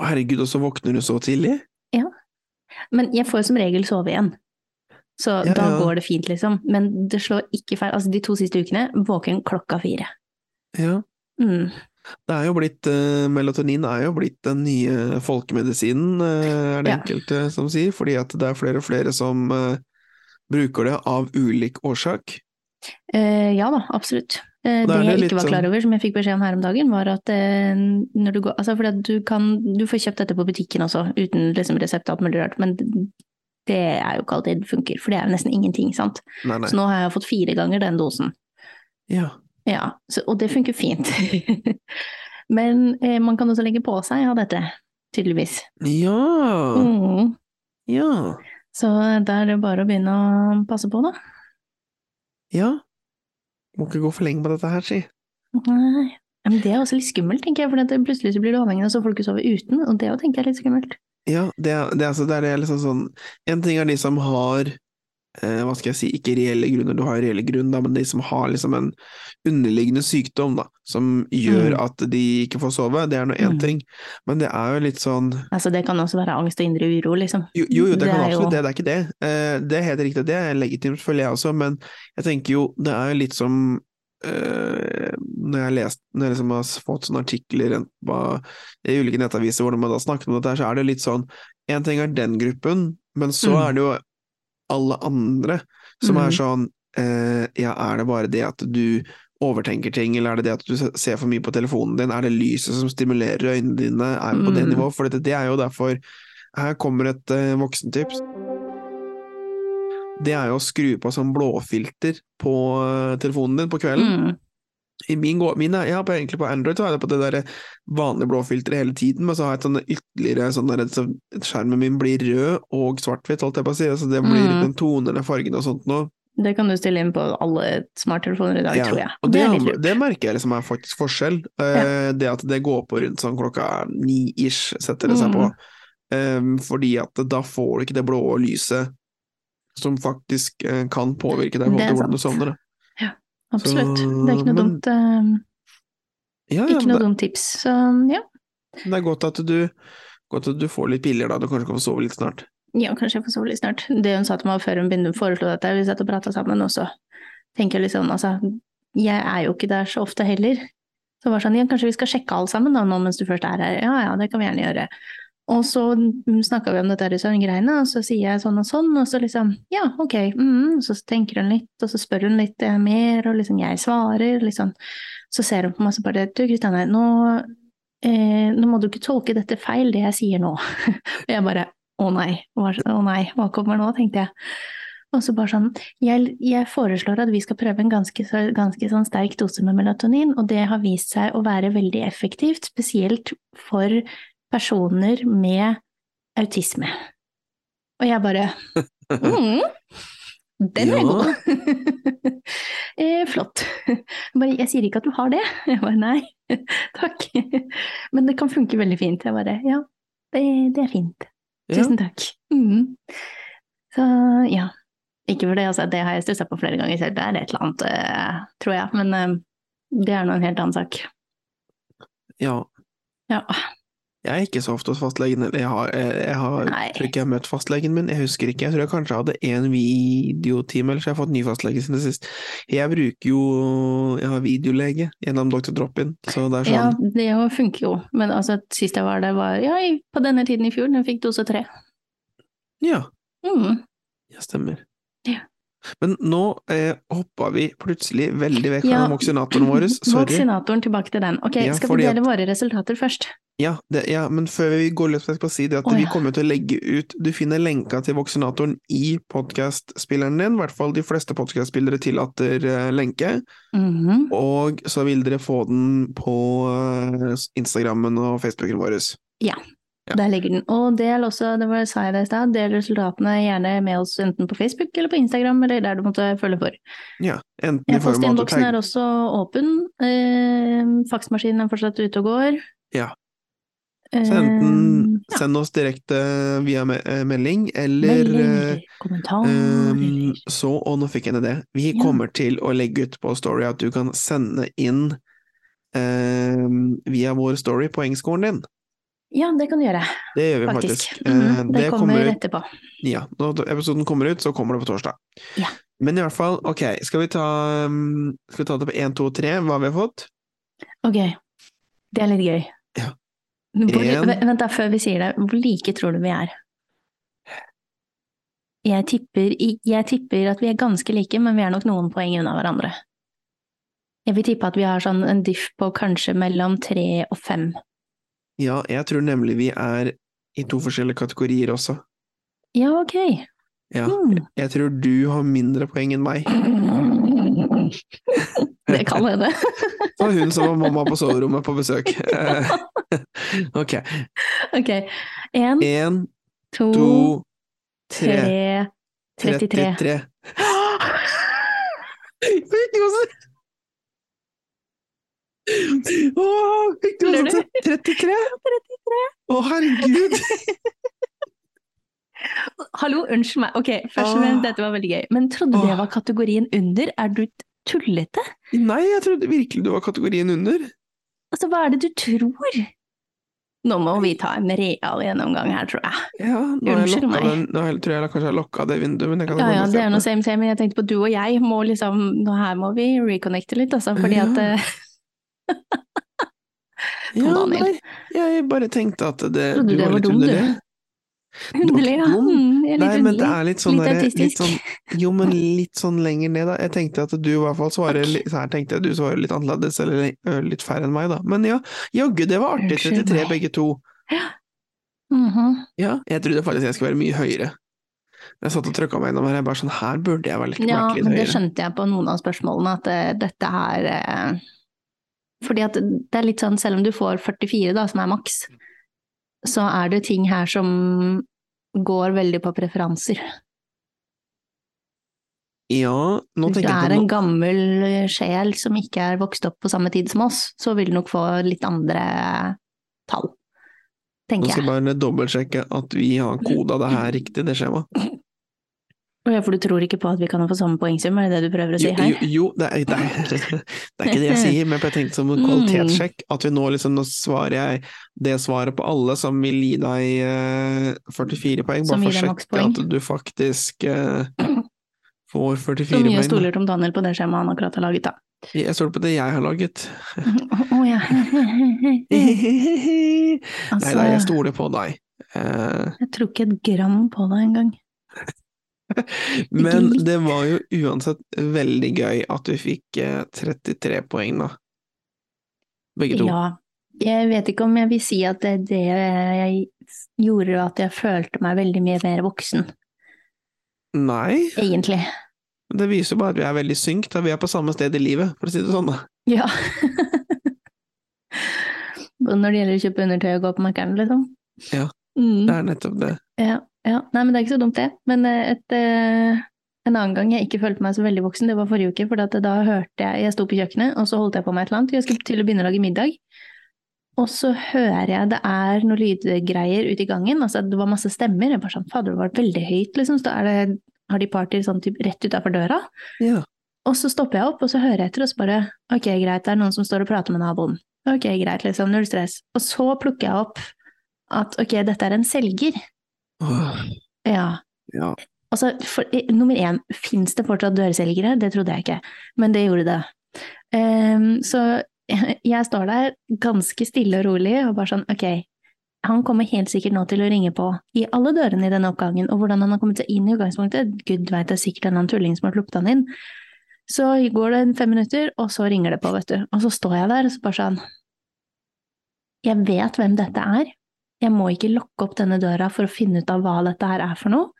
Å, herregud, og så våkner du så tidlig?
Men jeg får jo som regel sove igjen. Så
Ja,
da
ja.
går det fint, liksom. Men det slår ikke feil. Altså, de to siste ukene våken klokka fire.
Ja.
Mm.
Det er jo blitt, eh, melatonin er jo blitt den nye folkemedisinen, eh, er det
Ja.
enkelte som sier, fordi at det er flere og flere som eh, bruker det av ulik årsak.
Eh, ja da, absolutt. Eh, det
Da er det
jeg
litt
ikke var
sånn-
klar over, som jeg fikk beskjed om her om dagen, var at eh, når du går Altså, fordi at du kan Du får kjøpt dette på butikken også, uten liksom resept og alt mulig rart, men det er jo ikke alltid det funker, for det er jo nesten ingenting, sant.
Nei, nei.
Så nå har jeg fått fire ganger den dosen.
Ja.
Ja, så, og det funker fint. men eh, man kan også legge på seg av dette, tydeligvis.
Ja.
Mm.
Ja.
Så da er det bare å begynne å passe på, da.
Ja. Må ikke gå for lenge på dette her, si.
Nei. Ja, Men det er også litt skummelt, tenker jeg, for at det plutselig så blir du avhengig av så folk du sover uten, og det òg tenker jeg er litt skummelt.
Ja, det er, det er, altså, det er det liksom sånn En ting er de som har eh, Hva skal jeg si, ikke reelle grunner, du har jo reelle grunn, da, men de som har liksom en underliggende sykdom da, som gjør
Mm.
at de ikke får sove, det er nå én
Mm.
ting, men det er jo litt sånn
Altså, det kan også være angst og indre uro, liksom.
Jo, jo, jo, det kan
er jo-
absolutt det, det er ikke det. Eh, det er helt riktig, det er legitimt, føler jeg også, men jeg tenker jo, det er jo litt som eh, når jeg har lest, når jeg liksom har fått sånne artikler enten på- i ulike nettaviser hvor man da snakker om dette, her, så er det litt sånn En ting er den gruppen, men så
Mm.
er det jo alle andre som
Mm.
er sånn eh, Ja, er det bare det at du overtenker ting, eller er det det at du se- ser for mye på telefonen din, er det lyset som stimulerer øynene dine, er vi på det
Mm.
nivået? For dette, det er jo derfor her kommer et eh, voksentips. Det er jo å skru på sånn blåfilter på eh, telefonen din på kvelden.
Mm.
I min, gå- min er, jeg har på, egentlig på Android så har jeg det på det der vanlige blåfilteret hele tiden, men så har jeg et sånn ytterligere sånn der, så skjermen min blir rød og svart-hvitt, holdt jeg på å si, så det blir
Mm.
den tonene, fargene og sånt nå.
Det kan du stille inn på alle smarttelefoner i dag,
Ja,
tror jeg. det
Og det,
er litt lurt.
det merker jeg liksom er faktisk forskjell. Eh, Det at det går på rundt sånn klokka ni-ish, setter det seg på.
Mm.
Em, fordi at da får du ikke det blå lyset som faktisk eh, kan påvirke deg i forhold
Det er
til hvordan du
sant.
sovner. da.
Absolutt.
så-
Det er ikke noe
men-
dumt, eh,
Ja, ja,
ikke noe
men det,
dumt tips. Så ja.
det er godt at, du, godt at du får litt piller da, du kanskje kan få sove litt snart.
ja, kanskje jeg får sove litt snart. Det hun sa til meg før hun begynte å foreslå dette, vi satt og prata sammen også. Tenker jeg litt sånn, altså, jeg er jo ikke der så ofte heller. Så det var sånn, ja, kanskje vi skal sjekke alle sammen da, nå mens du først er her. Ja, ja, det kan vi gjerne gjøre. Og så snakka vi om dette her i søvngreiene, og så sier jeg sånn og sånn, og så liksom ja, ok, mm, så tenker hun litt, og så spør hun litt eh, mer, og liksom jeg svarer, liksom. Så ser hun på meg og så bare du Kristianne, nå, eh, nå må du ikke tolke dette feil, det jeg sier nå. og jeg bare å nei, hva, å nei, hva kommer nå, tenkte jeg. Og så bare sånn, jeg, jeg foreslår at vi skal prøve en ganske, så- ganske sånn sterk dose med melatonin, og det har vist seg å være veldig effektivt, spesielt for personer med autisme. Og jeg bare mm, Den er
Ja.
god! eh, flott. Jeg Bare, jeg sier ikke at du har det. Jeg bare nei, takk. Men det kan funke veldig fint. Jeg bare ja, det, det er fint.
Ja.
Tusen takk. Mhm. Så ja. Ikke for det, altså. Det har jeg stussa på flere ganger selv. Det er et eller annet, eh, tror jeg. Men eh, det er nå en helt annen sak.
ja.
Ja.
Jeg er ikke så ofte hos fastlegen. eller Jeg, har, jeg, jeg har,
Nei.
tror ikke jeg har møtt fastlegen min. Jeg husker ikke. Jeg tror jeg kanskje hadde én videotime, eller så har jeg fått ny fastlege siden sist. Jeg bruker jo Jeg har videolege gjennom Dr. Drop-in, så det er
Ja,
sånn.
det jo funker jo. Men altså, sist jeg var der, var ja, i- på denne tiden i fjor. Den fikk dose tre.
Ja,
Mhm.
ja stemmer.
Ja.
Men nå eh, hoppa vi plutselig veldig vekk
Ja.
fra voksinatoren vår. Sorry.
Vaksinatoren, tilbake til den. Ok,
Ja,
skal
fordi
vi
at-
dele våre resultater først?
Ja, det, ja, men før vi går løs, skal jeg bare si det at
Å,
vi
ja.
kommer til å legge ut Du finner lenka til Voksinatoren i podkastspilleren din. I hvert fall de fleste podkastspillere tillater eh, lenke.
Mhm.
Og så vil dere få den på eh, Instagrammen og Facebooken vår. Ja.
Der ligger den. Og del også, det var, sa jeg det i stad, del resultatene gjerne med oss enten på Facebook eller på Instagram, eller der du måtte følge for.
Ja, enten
Ja,
i form av at du
Postinnboksen er
tagger
også åpen. Eh, faksmaskinen er fortsatt ute og går.
Ja.
Eh,
så enten
ja,
send oss direkte via me eh, melding, eller eh,
meldinger, kommentarer
Ehm, så, og nå fikk jeg en idé. Vi
Ja.
kommer til å legge ut på Story at du kan sende inn ehm, via vår Story poengskolen din.
Ja, det kan du gjøre,
Det gjør vi faktisk.
faktisk. Mhm,
Eh,
det, kommer,
ut,
etterpå.
ja, Når episoden kommer ut, så kommer det på torsdag.
Ja.
Men i hvert fall, ok, skal vi ta, ehm, skal vi ta det på én, to, tre, hva vi har fått?
Ok, det er litt gøy.
Ja.
Hvor,
En.
v- vent da, før vi sier det, hvor like tror du vi er? Jeg tipper, jeg tipper at vi er ganske like, men vi er nok noen poeng unna hverandre. Jeg vil tippe at vi har sånn en diff på kanskje mellom tre og fem.
Ja, jeg tror nemlig vi er i to forskjellige kategorier også.
Ja, ok.
Ja.
Mm.
Jeg tror du har mindre poeng enn meg.
Det kan hende.
Det var hun som var mamma på soverommet på besøk. Eh, ok.
Ok. En,
Én,
to,
to, tre.
tre, 33.
Fikk du også Åh, fikk du
Lurer
også 33? Å, herregud!
Hallo, unnskyld meg. Ok, først og
Åh.
fremst, dette var veldig gøy. Men trodde du det
Åh.
var kategorien under? Er du tullete?
Nei, jeg trodde virkelig du var kategorien under.
Altså, hva er det du tror? Nå må vi ta en real gjennomgang her, tror jeg.
Ja, nå har jeg
Unnskyld
lokka
meg.
den, nå har jeg, tror jeg kanskje jeg har lokka det vinduet, men jeg kan
Ja, ja,
komme og se
det er
på
noe same same, men jeg tenkte på du og jeg må liksom nå Her må vi reconnecte litt, altså, fordi
Ja.
at eh,
Ja,
Daniel.
nei, jeg bare tenkte at det,
Trodde du var
litt
dum,
under
du.
det.
Underlig, ja.
dum.
Mm, jeg er
Nei,
litt
men det
underlig.
er litt sånn
Litt
derre-
autistisk.
sånn, jo, men litt sånn lenger ned, da. Jeg tenkte at du i hvert fall svarer
Takk.
litt, så her tenkte jeg du svarer litt annerledes, eller ø, litt færre enn meg, da. Men ja, jaggu, det var artig.
Unnskyld
33
meg.
begge to.
Mhm.
Ja, jeg trodde faktisk jeg skulle være mye høyere. Jeg satt og trykka meg gjennom her, jeg bare sånn her burde jeg være litt,
Ja,
vært litt
men det
høyere.
skjønte jeg på noen av spørsmålene, at eh, dette her eh, Fordi at det er litt sånn, selv om du får 44, da, som er maks, så er det ting her som går veldig på preferanser.
Ja, nå
Hvis du
tenker jeg
er
på
en
noe.
gammel eh, sjel som ikke er vokst opp på samme tid som oss, så vil du nok få litt andre tall,
Nå
tenker
skal
jeg.
jeg bare dobbeltsjekke at vi har koda det her riktig, det skjemaet.
Og ja, For du tror ikke på at vi kan få samme poengsum, er det det du prøver å
Jo,
si her?
jo, jo det, er, det, er, det er ikke det jeg sier, men jeg tenkte som en kvalitetssjekk
Mm.
at vi nå liksom nå svarer jeg det svaret på alle som vil gi deg eh, 44 poeng,
Som gir
bare for å
deg
sjekke
makspoeng.
at du faktisk eh, får 44
Så
poeng.
mye stoler Tom Daniel på det skjemaet han akkurat har laget, da.
Jeg stoler på det jeg har laget.
Å å, ja.
Nei
Altså,
da, jeg
jeg,
stoler på deg. Eh,
tror ikke et gram på det engang.
men
litt.
det var jo uansett veldig gøy at vi fikk eh, 33 poeng, da. Begge to.
Ja. Jeg vet ikke om jeg vil si at det, det jeg gjorde at jeg følte meg veldig mye mer voksen,
Nei.
egentlig.
Men Det viser jo bare at vi er veldig synk, da vi er på samme sted i livet, for å si det sånn. da.
Ja. Og Når det gjelder å kjøpe undertøy og gå på markedet, liksom.
Ja.
Mm.
Det er nettopp det.
Ja, ja. Nei, men det er ikke så dumt, det. Men eh, et eh, En annen gang jeg ikke følte meg så veldig voksen, det var forrige uke, for at da hørte jeg Jeg sto på kjøkkenet, og så holdt jeg på med et eller annet. Jeg skulle til å begynne å lage middag. Og så hører jeg det er noen lydgreier ute i gangen. Altså, det var masse stemmer. Jeg var sånn Fader, det var veldig høyt, liksom. Så da er det, har de party sånn typ, rett utafor døra.
Ja.
Og så stopper jeg opp, og så hører jeg etter, og så bare Ok, greit, det er noen som står og prater med naboen. Ok, greit, liksom. Null stress. Og så plukker jeg opp at ok, dette er en selger.
Åh,
Ja.
ja.
Altså, for, eh, nummer én, fins det fortsatt dørselgere? Det trodde jeg ikke, men det gjorde det. Ehm, så jeg står der ganske stille og rolig og bare sånn, ok, han kommer helt sikkert nå til å ringe på i alle dørene i denne oppgangen, og hvordan han har kommet seg inn i utgangspunktet, gud veit det er sikkert en eller annen tulling som har sluppet han inn. Så går det fem minutter, og så ringer det på, vet du. Og så står jeg der og så bare sånn, jeg vet hvem dette er, jeg må ikke lukke opp denne døra for å finne ut av hva dette her er for noe.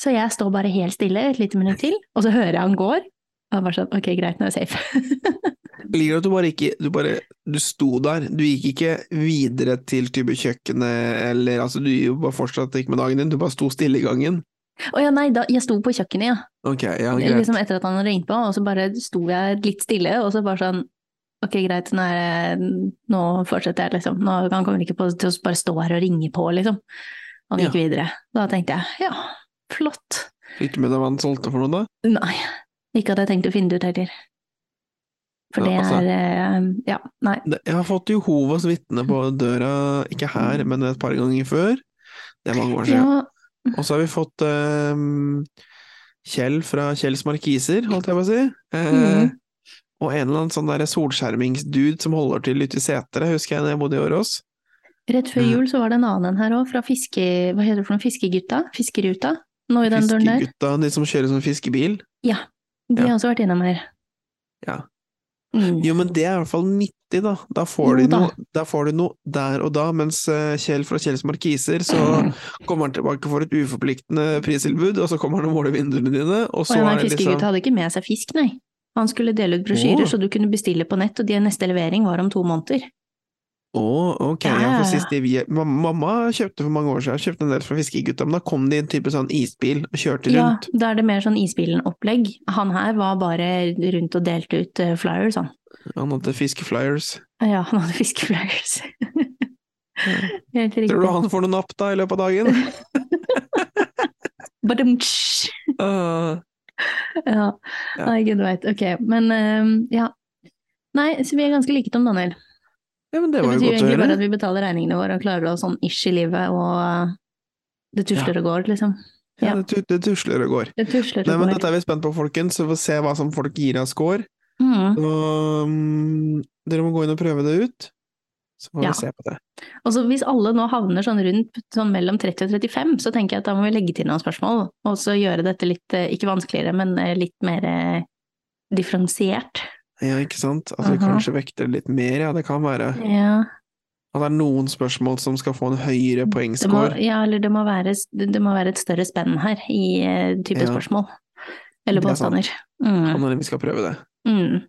Så jeg står bare helt stille et lite minutt til, og så hører jeg han går. Og jeg bare sånn, ok, greit, nå er jeg safe.
Ligger det at du bare ikke Du bare Du sto der. Du gikk ikke videre til type kjøkkenet eller Altså, du bare fortsatte ikke med dagen din. Du bare sto stille i gangen.
Å ja, nei, da, jeg sto på kjøkkenet, ja.
Ok, ja, greit.
Liksom etter at han hadde ringt på, og så bare sto jeg litt stille, og så bare sånn, ok, greit, nå, er det, nå fortsetter jeg, liksom. Nå, han kommer ikke på til å bare stå her og ringe på, liksom. Han gikk videre. Da tenkte jeg, ja, flott.
Fikk du med deg hva han solgte for noe, da?
Nei, ikke at jeg tenkte å finne det ut heller. For
Ja,
det
altså.
er, eh, ja, nei.
Det- Jeg har fått Jehovas vitne på døra, ikke her, men et par ganger før. Det er mange år siden.
Ja,
Og så har vi fått ehm, Kjell fra Kjells Markiser, holdt jeg på å si. Eh,
Mhm.
Og en eller annen sånn der solskjermingsdude som holder til ute i Setre, husker jeg da jeg bodde i Årås.
Rett før
Mm.
jul så var det en annen en her òg, fra fiske... Hva heter det for noen fiskegutta? Fiskeruta? Nå i den døren der.
Fiskegutta, de som kjører sånn fiskebil.
De
ja.
har også vært innom her.
Ja.
Mm.
Jo, men det er i hvert fall 90, da. Da får,
Jo
de
da.
noe, da får de noe der og da, mens eh, Kjell fra Kjells Markiser, så kommer han tilbake for et uforpliktende pristilbud, og så kommer han og måler vinduene dine, og
Og
så
den
er
her
det liksom
fiskegutta hadde ikke med seg fisk, nei. Han skulle dele ut brosjyrer,
Åh.
så du kunne bestille på nett, og de neste levering var om to måneder.
Å, ok.
Ja,
Ja,
ja,
for
ja.
sist de vi, ma- mamma kjøpte for mange år siden, kjøpte en del fra Fiskegutta, men da kom det i en type sånn isbil og kjørte
Ja,
rundt.
da er det mer sånn Isbilen-opplegg. Han her var bare rundt og delte ut eh, flyers, han.
Han hadde fiskeflyers.
Ja, han hadde fiskeflyers. Helt
Tror du
riktig.
han får noen napp da i løpet av dagen?
Badum-tsj.
Ah,
Ja,
Ja.
nei, gud veit. Ok, men ehm, ja. Nei, så vi er ganske like, Tom Daniel.
ja, men det
Det
var jo
betyr jo
godt å
egentlig bare
høre.
at vi betaler regningene våre og klarer oss sånn ish i livet, og eh, det tusler og går, liksom.
Ja,
ja.
det, tu- det tusler og går.
Det tusler
Nei,
og
men
går.
dette er vi spent på, folkens, så vi får se hva som folk gir av score.
Mm.
Og, mm, dere må gå inn og prøve det ut, så får
Ja.
vi se på det.
Og så hvis alle nå havner sånn rundt sånn mellom 30 og 35, så tenker jeg at da må vi legge til noen spørsmål, og så gjøre dette litt, eh, ikke vanskeligere, men eh, litt mer eh, differensiert.
Ja, ikke sant? At vi
Aha.
kanskje vekter det litt mer, ja, det kan være.
Ja.
At det er noen spørsmål som skal få en høyere
Det må,
poengscore.
ja, eller det må, være, det må være et større spenn her i eh, type
Ja.
spørsmål. Eller
Det er sant.
påstander. Mm.
Kan hende vi skal prøve det.
Mm.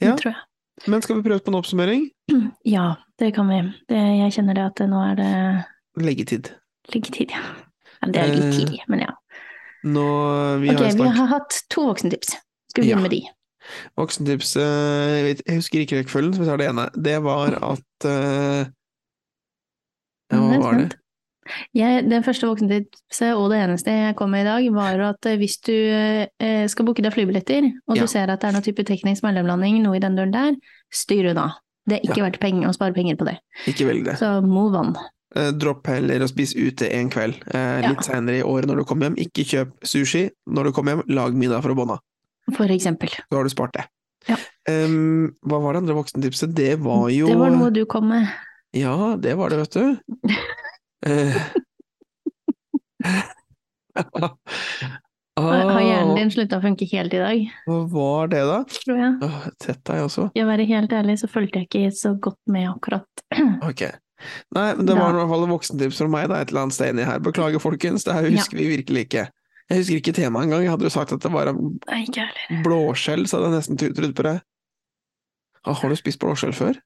Det
Ja.
tror jeg.
Men skal vi prøve på en oppsummering?
Ja, det kan vi. Det, jeg kjenner det at det, nå er det
Leggetid.
liggetid, ja. ja. Det er litt
Eh,
tidlig, men ja.
Nå, vi
Ok,
har jo
vi
snakket
har hatt to voksentips. Skal vi
Ja.
begynne med de?
voksentips eh, Jeg vet- jeg husker ikke rekkefølgen, så vi tar det ene. Det var at eh,
Nå Mm, er
Ja, hva
jeg
var det?
spent. Jeg, det første voksentipset og det eneste jeg kom med i dag, var at eh, hvis du eh, skal booke deg flybilletter, og
Ja.
du ser at det er noe type teknisk mellomlanding, noe i den døren der, styr unna. Det er ikke verdt penger å spare penger på det.
Ikke velg det.
Så move on.
Eh, Dropp heller å spise ute en kveld. Eh,
Ja.
Litt seinere i året når du kommer hjem. Ikke kjøp sushi når du kommer hjem. Lag middag fra bånn av.
For eksempel.
Så har du spart det.
Ja.
Em, hva var det andre voksentipset? Det var jo eh,
Det var noe du kom med.
Ja, det var det, vet du. Eh.
Har har hjernen din slutta å funke helt i dag,
Hva var det, da?
tror jeg.
Åh, Tett er jeg også.
Jeg være helt ærlig, så fulgte jeg ikke så godt med akkurat.
Ok. Nei, men det
Da-
var i hvert fall voksentips fra meg, da, et eller annet sted inni her. Beklager, folkens, det her husker vi virkelig ikke. Jeg husker ikke temaet engang. Hadde du sagt at det var av
Nei, ikke jeg heller.
blåskjell, så hadde jeg nesten tut- trodd på det. Åh, Har du spist blåskjell før?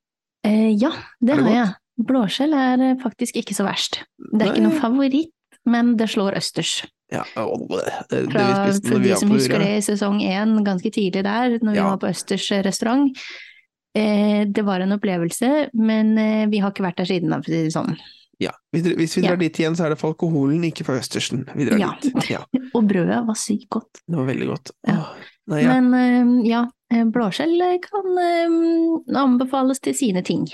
Eh, ja,
Er
det,
det
har
godt?
jeg. Blåskjell er eh, faktisk ikke så verst. Det er
Nei.
ikke noe favoritt, men det slår østers.
Ja, åh, det, det vi
Fra,
spiste
for
når vi
de
var
som
på
husker
Ure.
det i sesong én, ganske tidlig der, når vi
Ja.
var på Østers restaurant. Eh, det var en opplevelse, men eh, vi har ikke vært der siden, da, for å si det sånn.
Ja. Hvis, dere- hvis vi
Ja.
drar dit igjen, så er det for alkoholen, ikke for østersen. Vi drar
Ja.
dit. Ja,
Og brødet var sykt godt.
det var veldig godt.
Ja.
Åh, nei, ja.
Men eh, ja, eh, blåskjell eh, kan eh, anbefales til sine ting.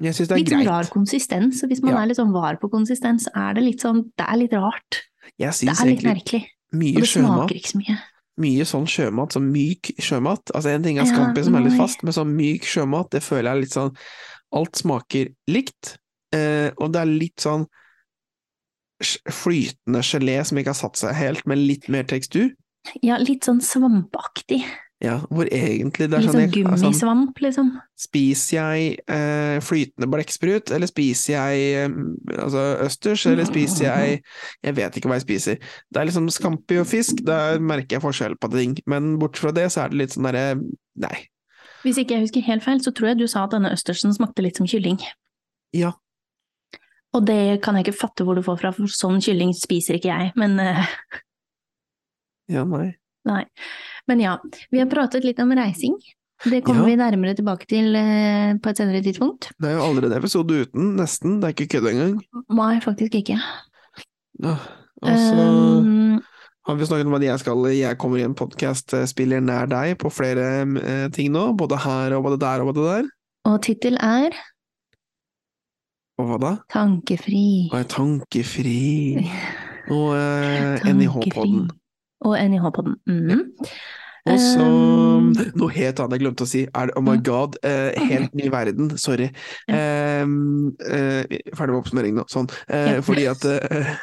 Jeg syns det er
Litt sånn
greit.
rar konsistens, og hvis man
Ja.
er litt sånn var på konsistens, er det litt sånn Det er litt rart.
Jeg
Det
syns
er litt
egentlig
merkelig. Og
mye
det
sjømat,
smaker ikke så mye.
mye sånn sjømat, sånn myk sjømat. Altså en ting er
Ja,
scampi som er litt
nei.
fast, men sånn myk sjømat, det føler jeg er litt sånn Alt smaker likt, eh, og det er litt sånn sj- flytende gelé som ikke har satt seg helt, men litt mer tekstur.
Ja, litt sånn svampaktig.
Ja, hvor egentlig det er
Litt
sånn,
sånn
jeg- altså,
gummisvamp, liksom.
Spiser jeg eh, flytende blekksprut, eller spiser jeg eh, altså østers, eller spiser jeg Jeg vet ikke hva jeg spiser. Det er liksom scampi og fisk, da merker jeg forskjell på ting. Men bort fra det, så er det litt sånn derre Nei.
Hvis ikke jeg husker helt feil, så tror jeg du sa at denne østersen smakte litt som kylling.
Ja.
Og det kan jeg ikke fatte hvor du får fra, for sånn kylling spiser ikke jeg. Men, eh,
Ja, nei.
men ja, vi har pratet litt om reising. Det kommer
Ja.
vi nærmere tilbake til eh, på et senere tidspunkt.
Det er jo aldri en episode uten, nesten. Det er ikke kødd engang.
Nei, faktisk ikke.
Åh, Og så
Um,
har vi snakket om at jeg skal Jeg kommer i en podkastspiller nær deg på flere eh, ting nå. Både her og både der og både der.
og tittel er
Og hva da?
Tankefri.
Og jeg er tankefri. Og eh,
Tankefri.
NIH-podden.
Og NIH-podden. Mm.
Og så
Um,
Noe helt annet jeg glemte å si. Er det, oh my
Mm.
god, eh, helt ny verden. Sorry.
Ja.
Em, eh, ferdig med oppsummeringen nå. Sånn. Eh,
Ja.
Fordi at eh,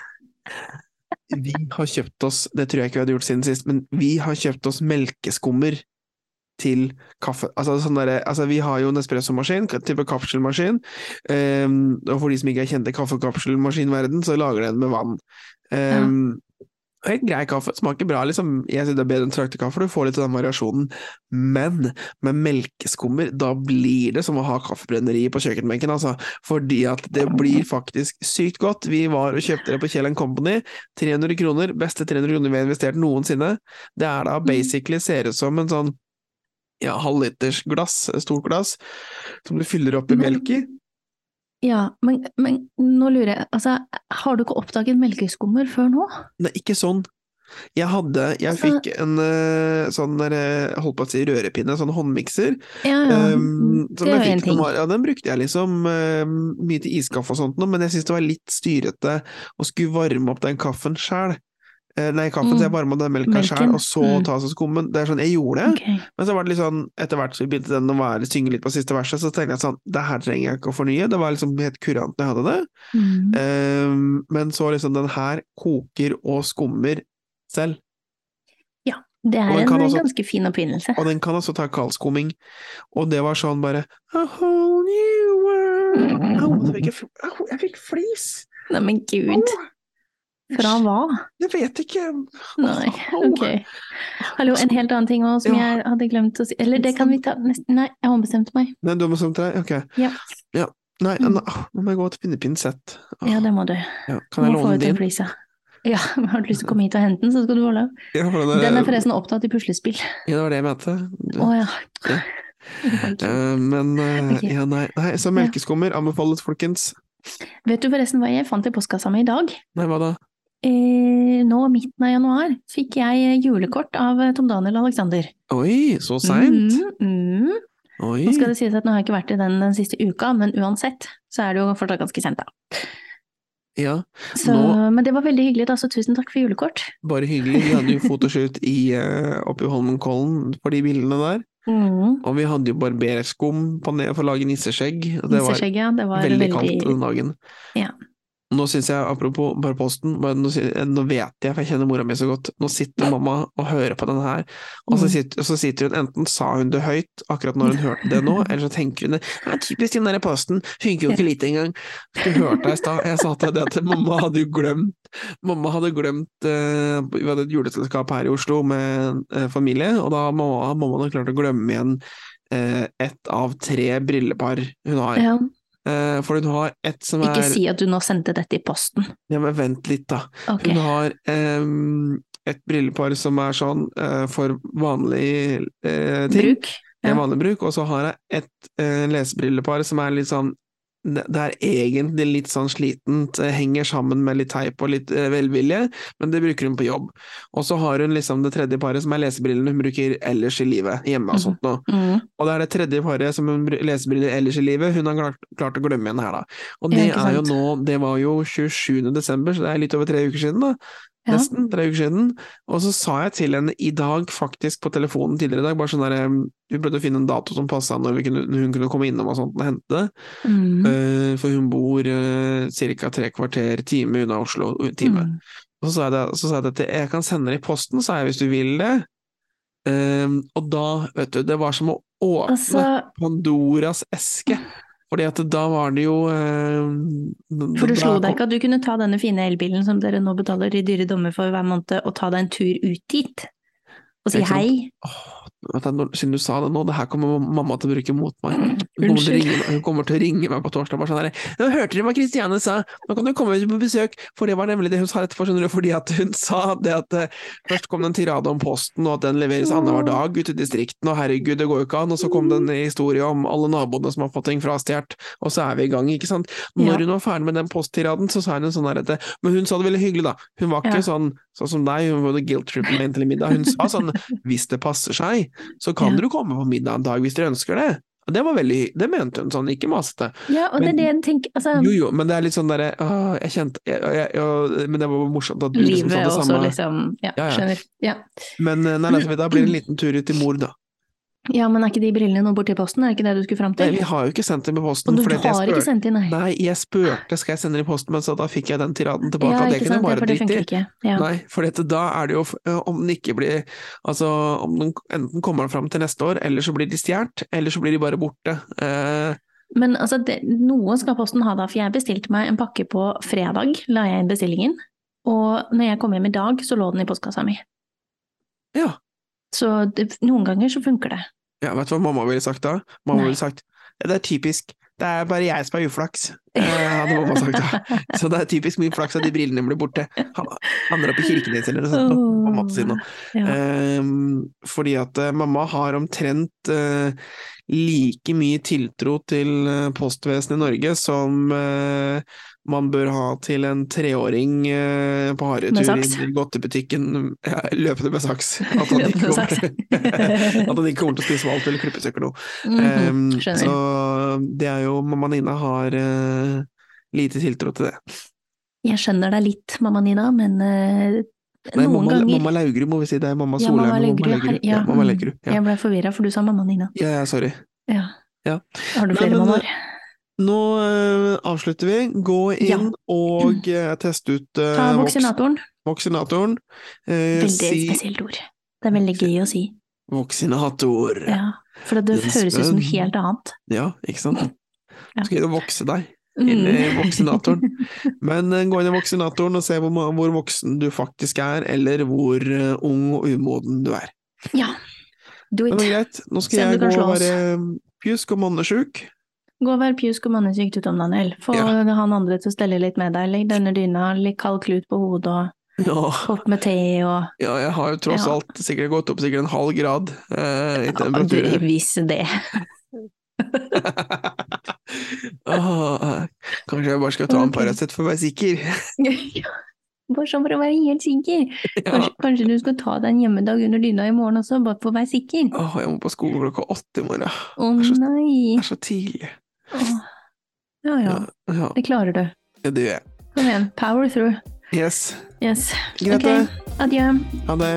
vi har kjøpt oss, det tror jeg ikke vi hadde gjort siden sist, men vi har kjøpt oss melkeskummer til kaffe. Altså, sånn derre- altså vi har jo en espressomaskin, type kapselmaskin, Em, Ehm, og for de som ikke er kjent i kaffekapselmaskinverden, så lager den med vann. Em, Helt grei kaffe, smaker bra, liksom. Jeg synes det er bedre enn traktekaffe, for du får litt av den variasjonen. Men med melkeskummer, da blir det som å ha kaffebrenneri på kjøkkenbenken, altså. Fordi at det blir faktisk sykt godt. Vi var og kjøpte det på Kjell Company. 300 kroner, beste 300 kroner vi har investert noensinne. Det er da basically ser ut som en sånn ja, halvliters glass, stort glass, som du fyller opp i
Men-
melk i.
ja, men, men nå lurer jeg, altså, har du ikke oppdaget melkeskummer før nå?
Nei, ikke sånn. Jeg hadde, jeg
Altså-
fikk en eh, sånn der, eh, holdt på å si rørepinne, sånn håndmikser.
Ja, ja. Mm,
ehm, som
det er
jeg
jo
fikk
en ting.
når- Ja, den brukte jeg liksom ehm, mye til iskaffe og sånt nå, men jeg syntes det var litt styrete å skulle varme opp den kaffen sjæl. Eh, nei, kaffen,
Mm.
så jeg varma den melka sjæl,
Melken.
og så
Mm.
ta seg skummen. Det er sånn, jeg gjorde det.
Ok.
Men så var det litt sånn, etter hvert så begynte den å være, synge litt på siste verset, så tenkte jeg sånn, det her trenger jeg ikke å fornye, det var liksom helt kurant når jeg hadde det.
Mm.
Ehm, men så liksom, den her koker og skummer selv,
Det
og
er
den
en
kan altså- også-
ganske fin oppfinnelse.
og den kan også ta kaldskumming, og det var sånn bare, a whole new world. Au, nå fikk jeg, fl- au, jeg fikk flis.
Nei, men
Au,
gud, fra hva?
jeg vet ikke.
Nei,
Au.
ok. Hallo, en helt annen ting også, som
Ja.
jeg hadde glemt å si. Eller det kan vi ta nesten, nei, jeg har ombestemt meg.
Nei, du må samtidig, ok.
Ja.
Ja. Nei,
Mm.
nå au, nå må jeg gå til pinnepinsett.
Ja, det må du.
Ja, kan jeg
må få
låne
ut den
din?
flisa. Ja, har du lyst til å komme hit og hente den, så skal du få lov.
Ja, for den er-
Den er forresten opptatt i puslespill.
Ja, det var det jeg mente.
Å ja.
Eh, Ja.
Ok.
Eh, men eh,
Ok.
ja, nei. nei. Så melkeskummer anbefales, folkens.
Vet du forresten hva jeg fant i postkassa mi i dag?
Nei, hva da?
Eh, nå, midten av januar, fikk jeg julekort av eh, Tom Daniel Alexander.
Oi, så seint?
Mm, mm.
Oi.
Nå skal det sies at nå har jeg ikke vært i den den siste uka, men uansett så er det jo fortsatt ganske sent, da.
Ja,
Så,
Nå-
Men det var veldig hyggelig, da, så tusen takk for julekort.
bare hyggelig. Vi hadde jo fotoshoot i, eh, oppe i Holmenkollen for de bildene der.
Mm.
Og vi hadde jo barberskum på ned for å lage nisseskjegg. og Det var
Nisseskjegg, ja. Det var
veldig,
veldig,
kaldt den dagen.
Ja.
Nå syns jeg, apropos bare posten, bare nå, sy- eh, nå vet jeg, for jeg kjenner mora mi så godt, nå sitter mamma og hører på den her, og så
Mm.
sitter, og så sitter hun, enten sa hun det høyt akkurat når hun hørte det nå, eller så tenker hun det, ja, typisk den der posten, funker jo ikke lite engang. Du hørte deg i stad, jeg sa til deg at mamma hadde jo glemt, mamma hadde glemt, eh, vi hadde et juleselskap her i Oslo med en eh, familie, og da må mamma hadde klart å glemme igjen eh, ett av tre brillepar hun har.
Ja.
Eh, for hun har et som
Ikke
er
si at du nå sendte dette i posten.
Ja, men vent litt, da.
Ok.
Hun har em, et brillepar som er sånn eh, for vanlig eh, ting.
Bruk.
Det
Ja.
er vanlig bruk, og så har jeg et eh, lesebrillepar som er litt sånn det det er egentlig litt sånn slitent, eh, henger sammen med litt teip og litt eh, velvilje, men det bruker hun på jobb. Og så har hun liksom det tredje paret som er lesebrillene hun bruker ellers i livet, hjemme og sånt noe.
Mm.
Og det er det tredje paret som hun br- lesebriller ellers i livet, hun har klart, klart å glemme igjen her da. Og
Ja,
det
ikke
er jo
sant.
nå, det var jo 27. desember, så det er litt over tre uker siden da.
Ja.
Nesten tre uker siden. Og så sa jeg til henne i dag, faktisk på telefonen tidligere i dag, bare sånn der eh, Vi prøvde å finne en dato som passa når vi kunne, når hun kunne komme innom og sånt og hente det.
Mm.
Eh, for hun bor uh, ca. tre kvarter time unna Oslo. uh, Time.
Mm.
Og så sa jeg det, så sa jeg det til Jeg kan sende det i posten, sa jeg, hvis du vil det. Eh, og da, vet du, det var som å åpne
Altså,
Pandoras eske. Fordi at da var det jo eh,
for du
da
slo deg
kom-
ikke at du kunne ta denne fine elbilen som dere nå betaler i dyre dommer for hver måned, og ta deg en tur ut dit? Og si
Ikke sant.
hei?
Åh, vet du, når- siden du sa det nå, det her kommer mamma til å bruke mot meg. Hun kommer til
Unnskyld.
å ringe, meg- hun kommer til å ringe meg på torsdag bare sånn der, Nå hørte dere hva Kristiane sa, nå kan du komme på besøk. For det var nemlig det hun sa etterpå, skjønner du, fordi at hun sa det at eh, først kom det en tirade om posten, og at den leveres annenhver dag ute i distriktene, og herregud, det går jo ikke an. Og så kom det en historie om alle naboene som har fått ting frastjålet, og så er vi i gang, ikke sant.
Ja.
Når hun var ferdig med den posttiraden, så sa hun en sånn her etter, men hun sa det veldig hyggelig, da. Hun var ikke
Ja.
sånn sånn som deg, hun var guilt-trippen inn til middag. Hun sa sånn hvis det passer seg, så kan
Ja.
dere komme på middag en dag hvis dere ønsker det. Og det var veldig, det mente hun sånn, ikke masete.
Ja, og det er det jeg tenker altså,
Jo jo, men det er litt sånn derre «Åh, Jeg kjente jeg, jeg, jeg, Men det var morsomt at du liksom sa
Livet
det
også,
samme.
liksom. Ja,
Ja, ja.
skjønner. Ja.
Men eh, nei, altså, da blir det en liten tur ut til mor, da.
ja, men er ikke de brillene nå borti posten, er det ikke det du skulle fram
Nei,
til?
vi har jo ikke sendt dem på posten.
Og du
fordi at jeg
har ikke
spør-
sendt inn, nei?
Nei, jeg spurte skal jeg sende dem i posten, men så da fikk jeg den tiraden tilbake.
Ja,
at det
ikke
kunne
sant, ja,
bare
for det
drite i.
funker ikke. Ja.
Nei, for dette, da er det jo f- eh, om den ikke blir Altså, om den enten kommer den fram til neste år, eller så blir de stjålet, eller så blir de bare borte. Eh,
Men altså, det, noe skal posten ha da, for jeg bestilte meg en pakke på fredag, la jeg inn bestillingen. Og når jeg kom hjem i dag, så lå den i postkassa mi.
ja.
Så det, noen ganger så funker det.
Ja, vet du hva mamma ville sagt da? Mamma
Nei.
ville sagt det er typisk, det er bare jeg som har uflaks, eh, hadde mamma sagt da. Så det er typisk min flaks at de brillene blir borte. Han handler opp i Kirkenes eller noe sånt. nå, på mamma sin nå.
Ja.
Ehm, fordi at eh, mamma har omtrent eh, like mye tiltro til eh, postvesenet i Norge som eh, man bør ha til en treåring eh, på
Med
haretur
saks.
i godtebutikken ja, løpende med saks. At han,
Løpende
ikke
med
kommer,
saks.
at han ikke kommer til å spise valp eller klippe seg eller noe.
Mhm,
Ehm,
skjønner.
så det er jo Mamma Nina har eh, lite tiltro til det.
Jeg skjønner deg litt, mamma Nina, men eh,
Nei,
noen
mamma,
ganger
mamma Laugrud må vi si. Det er mamma
Ja,
Solheim
mamma
og mamma
Laugrud,
Laugrud.
ja,
Ja, mamma
mm.
Laugrud. Ja.
Jeg ble forvirra, for du sa mamma Nina.
Ja, ja, sorry.
Ja.
Ja.
Har du
Nei,
flere
men-
mammaer?
Nå eh, avslutter vi. Gå
Ja.
inn og eh, test ut eh,
Ta
voks-
voksinatoren.
voksinatoren. Eh,
Veldig
si
spesielt ord. Det er veldig gøy å si.
voksinator. Ja.
Ja. For det
Den
høres ut som
spøn-
noe helt annet.
ikke sant?
Ja.
Skal inn og vokse deg. Inn i
Mm.
voksinatoren. Men eh, gå inn i voksinatoren og se hvor, ma- hvor voksen du faktisk er, eller hvor eh, ung og umoden du er.
Ja. Do
Men det
it.
er greit. Nå
Se
skal
om
jeg
du
gå
kan slå
og
oss.
være eh, pjusk og mannesjuk.
Gå og vær pjusk og mannesyk du, Tom Daniel. Få
Ja.
han andre til å stelle litt med deg. Legg denne dyna, litt kald klut på hodet, og
Ja,
kopp med te og
ja, jeg har jo tross
Ja.
alt sikkert gått opp sikkert en halv grad eh, i
ja, du,
temperatur.
Hvis det.
Åh, kanskje jeg bare skal ta en Paracet for å være sikker.
Bare sånn for å være helt sikker.
Ja.
Kanskje, kanskje du skal ta deg en hjemmedag under dyna i morgen også, bare for å være sikker. Å
Åh, jeg må på skolen klokka åtte i morgen. så-
nei.
Det er så tidlig.
Åh. Ja ja,
Ja,
det klarer du.
det gjør jeg.
Kom igjen. Power through.
Yes.
Yes.
Grete,
Ok, Adjø.
ha det.